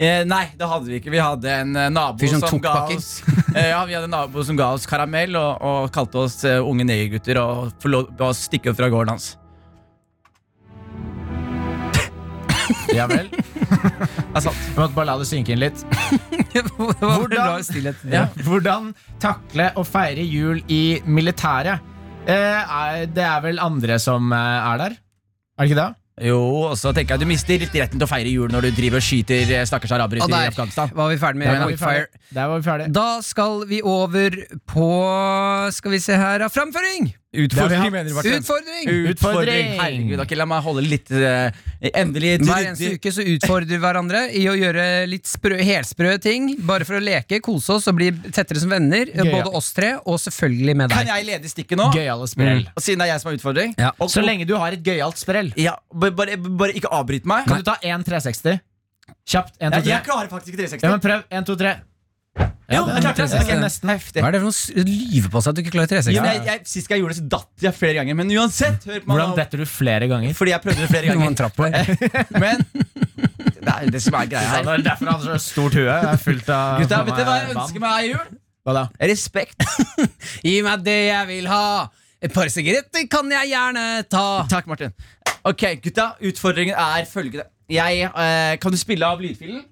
[SPEAKER 4] Eh, nei, det hadde vi ikke. Vi hadde en eh, nabo
[SPEAKER 3] Fyr sånn som
[SPEAKER 4] som,
[SPEAKER 3] tok
[SPEAKER 4] ga
[SPEAKER 3] pakker.
[SPEAKER 4] oss eh, Ja, vi hadde en nabo som ga oss karamell og, og kalte oss eh, unge negergutter og forlot oss stikke fra gården hans.
[SPEAKER 5] Ja
[SPEAKER 3] [laughs]
[SPEAKER 5] vel.
[SPEAKER 4] Det er sant.
[SPEAKER 5] Vi måtte bare la det synke inn litt.
[SPEAKER 3] [laughs] Det var en
[SPEAKER 5] Hvordan-
[SPEAKER 3] rar stillhet.
[SPEAKER 5] Ja. Hvordan takle å feire jul i militæret? Eh, er- det er vel andre som eh, er der? Er det ikke det?
[SPEAKER 4] Jo, og så tenker jeg at du mister litt retten til å feire jul når du driver og skyter eh, stakkars arabere
[SPEAKER 3] Og
[SPEAKER 4] i
[SPEAKER 3] der
[SPEAKER 4] Afghanistan.
[SPEAKER 3] var vi ferdig
[SPEAKER 5] Der
[SPEAKER 3] med
[SPEAKER 5] var vi
[SPEAKER 3] Quickfire.
[SPEAKER 5] ferdig. Der var vi ferdig.
[SPEAKER 3] Da skal vi over på Skal vi se her ja, Framføring!
[SPEAKER 5] Det har
[SPEAKER 4] Utfordring,
[SPEAKER 5] vi hatt.
[SPEAKER 4] mener du, Martin?
[SPEAKER 3] Utfordring!
[SPEAKER 5] Utfordring.
[SPEAKER 4] Herregud, ok, la meg holde litt eh, Endelig
[SPEAKER 3] Hver eneste
[SPEAKER 4] ryddig.
[SPEAKER 3] uke så utfordrer vi hverandre i å gjøre litt sprø, helsprø ting. Bare for å leke, kose oss og bli tettere som venner.
[SPEAKER 5] Gøy, ja.
[SPEAKER 3] Både oss tre og selvfølgelig med
[SPEAKER 4] Kan
[SPEAKER 3] deg.
[SPEAKER 4] jeg lede stikket nå?
[SPEAKER 5] Gøyale sprell.
[SPEAKER 4] Og Siden det er jeg som er utfordring?
[SPEAKER 3] Ja.
[SPEAKER 4] Og,
[SPEAKER 5] Så lenge du har et gøyalt sprell.
[SPEAKER 4] ja, bare, bare, bare ikke avbryt meg.
[SPEAKER 5] Kan du ta én 360? Kjapt. Én, to,
[SPEAKER 4] Jeg, jeg
[SPEAKER 5] tre.
[SPEAKER 4] klarer faktisk ikke 360.
[SPEAKER 5] Ja, men prøv. Én, to, tre.
[SPEAKER 4] Jo, jeg klarte det.
[SPEAKER 5] Ok, nesten.
[SPEAKER 4] Heftig.
[SPEAKER 3] Hva er det for noe s- lyve på seg at du ikke klarer
[SPEAKER 4] Jo, men
[SPEAKER 3] 360?
[SPEAKER 4] jeg, jeg, sist gang jeg gjorde det, så datt jeg flere ganger. Men uansett, hør på
[SPEAKER 5] Hvordan
[SPEAKER 4] meg nå.
[SPEAKER 5] detter du flere ganger?
[SPEAKER 4] Fordi jeg prøvde det flere
[SPEAKER 3] Det var en
[SPEAKER 4] ganger.
[SPEAKER 3] trapp her.
[SPEAKER 4] Men det er det som er greia
[SPEAKER 5] Ja,
[SPEAKER 4] her.
[SPEAKER 5] det er derfor han har så stort hue. Det er fullt av
[SPEAKER 4] Gutta, vet du hva jeg
[SPEAKER 5] vann.
[SPEAKER 4] ønsker meg i jul?
[SPEAKER 5] Hva da?
[SPEAKER 4] Respekt.
[SPEAKER 3] [laughs] Gi meg det jeg vil ha! Et par sigaretter kan jeg gjerne ta!
[SPEAKER 4] Takk, Martin. Ok, gutta, utfordringen er følgende. Jeg, eh, kan du spille av lydfilen?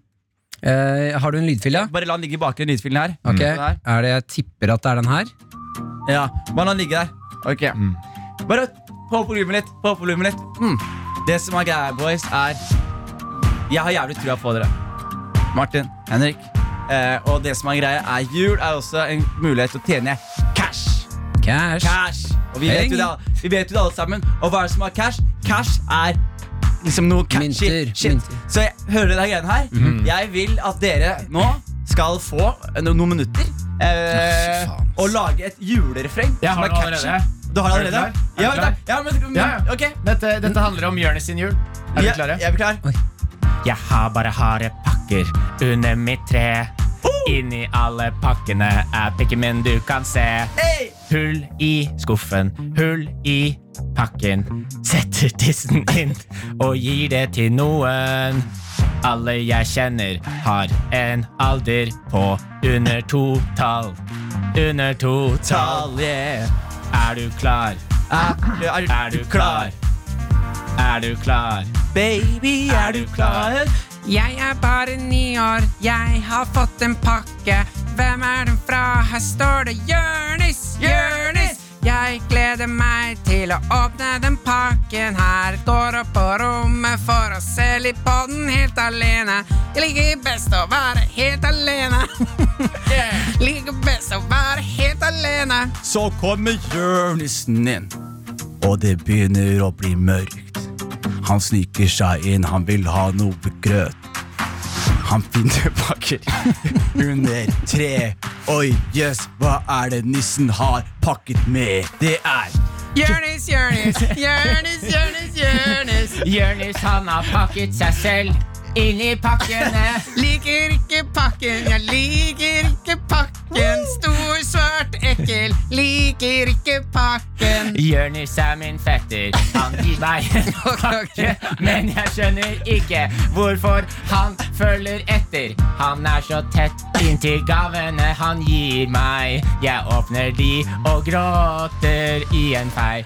[SPEAKER 3] Eh, har du en lydfil, ja?
[SPEAKER 4] Bare la den ligge i bakgrunnen, lydfilen her.
[SPEAKER 3] Ok,
[SPEAKER 4] Den her.
[SPEAKER 3] er det Jeg tipper at det er den her.
[SPEAKER 4] Ja, bare la den ligge der. Ok. Bare på volumet litt. På volumet litt. Mm. Det som er greia, boys, er Jeg har jævlig trua på dere. Martin, Henrik. Eh, og det som er greia, er jul er også en mulighet til å tjene cash.
[SPEAKER 3] Cash.
[SPEAKER 4] Cash. Og vi vet jo det, alle- vi vet jo det alle sammen. Og hva er det som er cash? Cash er liksom noe catchy
[SPEAKER 3] Mynter,
[SPEAKER 4] shit.
[SPEAKER 3] mynter.
[SPEAKER 4] Så jeg, hører dere den greien her?
[SPEAKER 5] Mhm.
[SPEAKER 4] Jeg vil at dere nå skal få no, noen minutter eh,
[SPEAKER 3] Ja, fy faen, ass.
[SPEAKER 4] og lage et julerefreng
[SPEAKER 5] Jeg har
[SPEAKER 4] som er
[SPEAKER 5] det allerede.
[SPEAKER 4] catchy. Du har det
[SPEAKER 5] Er du
[SPEAKER 4] allerede?
[SPEAKER 5] klar? Er du
[SPEAKER 4] Ja, ja, men, men,
[SPEAKER 5] Ja, ja.
[SPEAKER 4] ok.
[SPEAKER 5] Dette, dette handler om Jonis sin jul. Er dere
[SPEAKER 4] Ja,
[SPEAKER 5] klare?
[SPEAKER 4] Jeg er klar.
[SPEAKER 5] Jeg har bare harde pakker under mitt tre. Inni alle pakkene er pikken min du kan se.
[SPEAKER 4] Hey!
[SPEAKER 5] Hull i skuffen, hull i pakken. Setter tissen inn og gir det til noen. Alle jeg kjenner har en alder på under to tall. Under to tall.
[SPEAKER 4] Talje.
[SPEAKER 5] Er du klar?
[SPEAKER 4] Er, er,
[SPEAKER 5] Er du klar? Er du klar?
[SPEAKER 4] Baby, er du klar?
[SPEAKER 3] Jeg er bare ni år, jeg har fått en pakke. Hvem er den fra? Her står det Jørnis, Jørnis. Jeg gleder meg til å åpne den pakken her. Går opp på rommet for å se litt på den Mm, helt alene. Jeg liker best å være helt alene. [laughs] Liker best å være helt alene.
[SPEAKER 4] Så kommer julenissen inn, og det begynner å bli mørkt. Han sniker seg inn, han vil ha noe grøt. Han finner pakker [laughs] under tre. Oi, jøss, hva er det nissen har pakket med? Det er
[SPEAKER 3] Jørnis, Jørnis, Jørnis, Jørnis, Jørnis.
[SPEAKER 5] Jørnis han har pakket seg selv inn i pakkene.
[SPEAKER 3] Liker ikke pakken, jeg liker ikke pakken. Stor, svart, ekkel, liker ikke pakken.
[SPEAKER 5] Jørnis er min fetter. Han gir meg [laughs] en pakke, men jeg skjønner ikke hvorfor han følger etter. Han er så tett inntil gavene han gir meg. Jeg åpner de og gråter i en fei.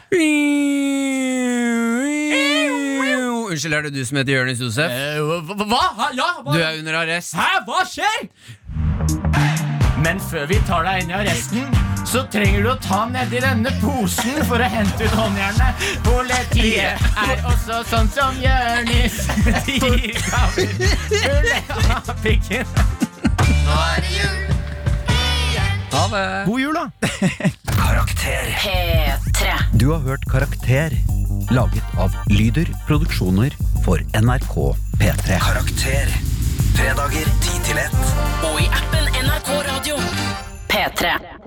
[SPEAKER 3] Unnskyld, er det du som heter Jonis Josef?
[SPEAKER 5] Eh. Hva? Ja,
[SPEAKER 3] Du er under arrest.
[SPEAKER 5] Hæ, hva skjer? Men før vi tar deg inn i arresten, så trenger du å ta nedi denne posen for å hente ut håndjernet. Politiet er også sånn som Jørnis. De gir gaver fulle av pikken.
[SPEAKER 3] Ha det.
[SPEAKER 4] God jul, da!
[SPEAKER 7] P3.
[SPEAKER 8] Du har hørt Karakter, laget av Lyder Produksjoner for NRK P3.
[SPEAKER 2] Karakter. Fredager 10 til 1.
[SPEAKER 1] Og i appen NRK Radio.
[SPEAKER 7] P3.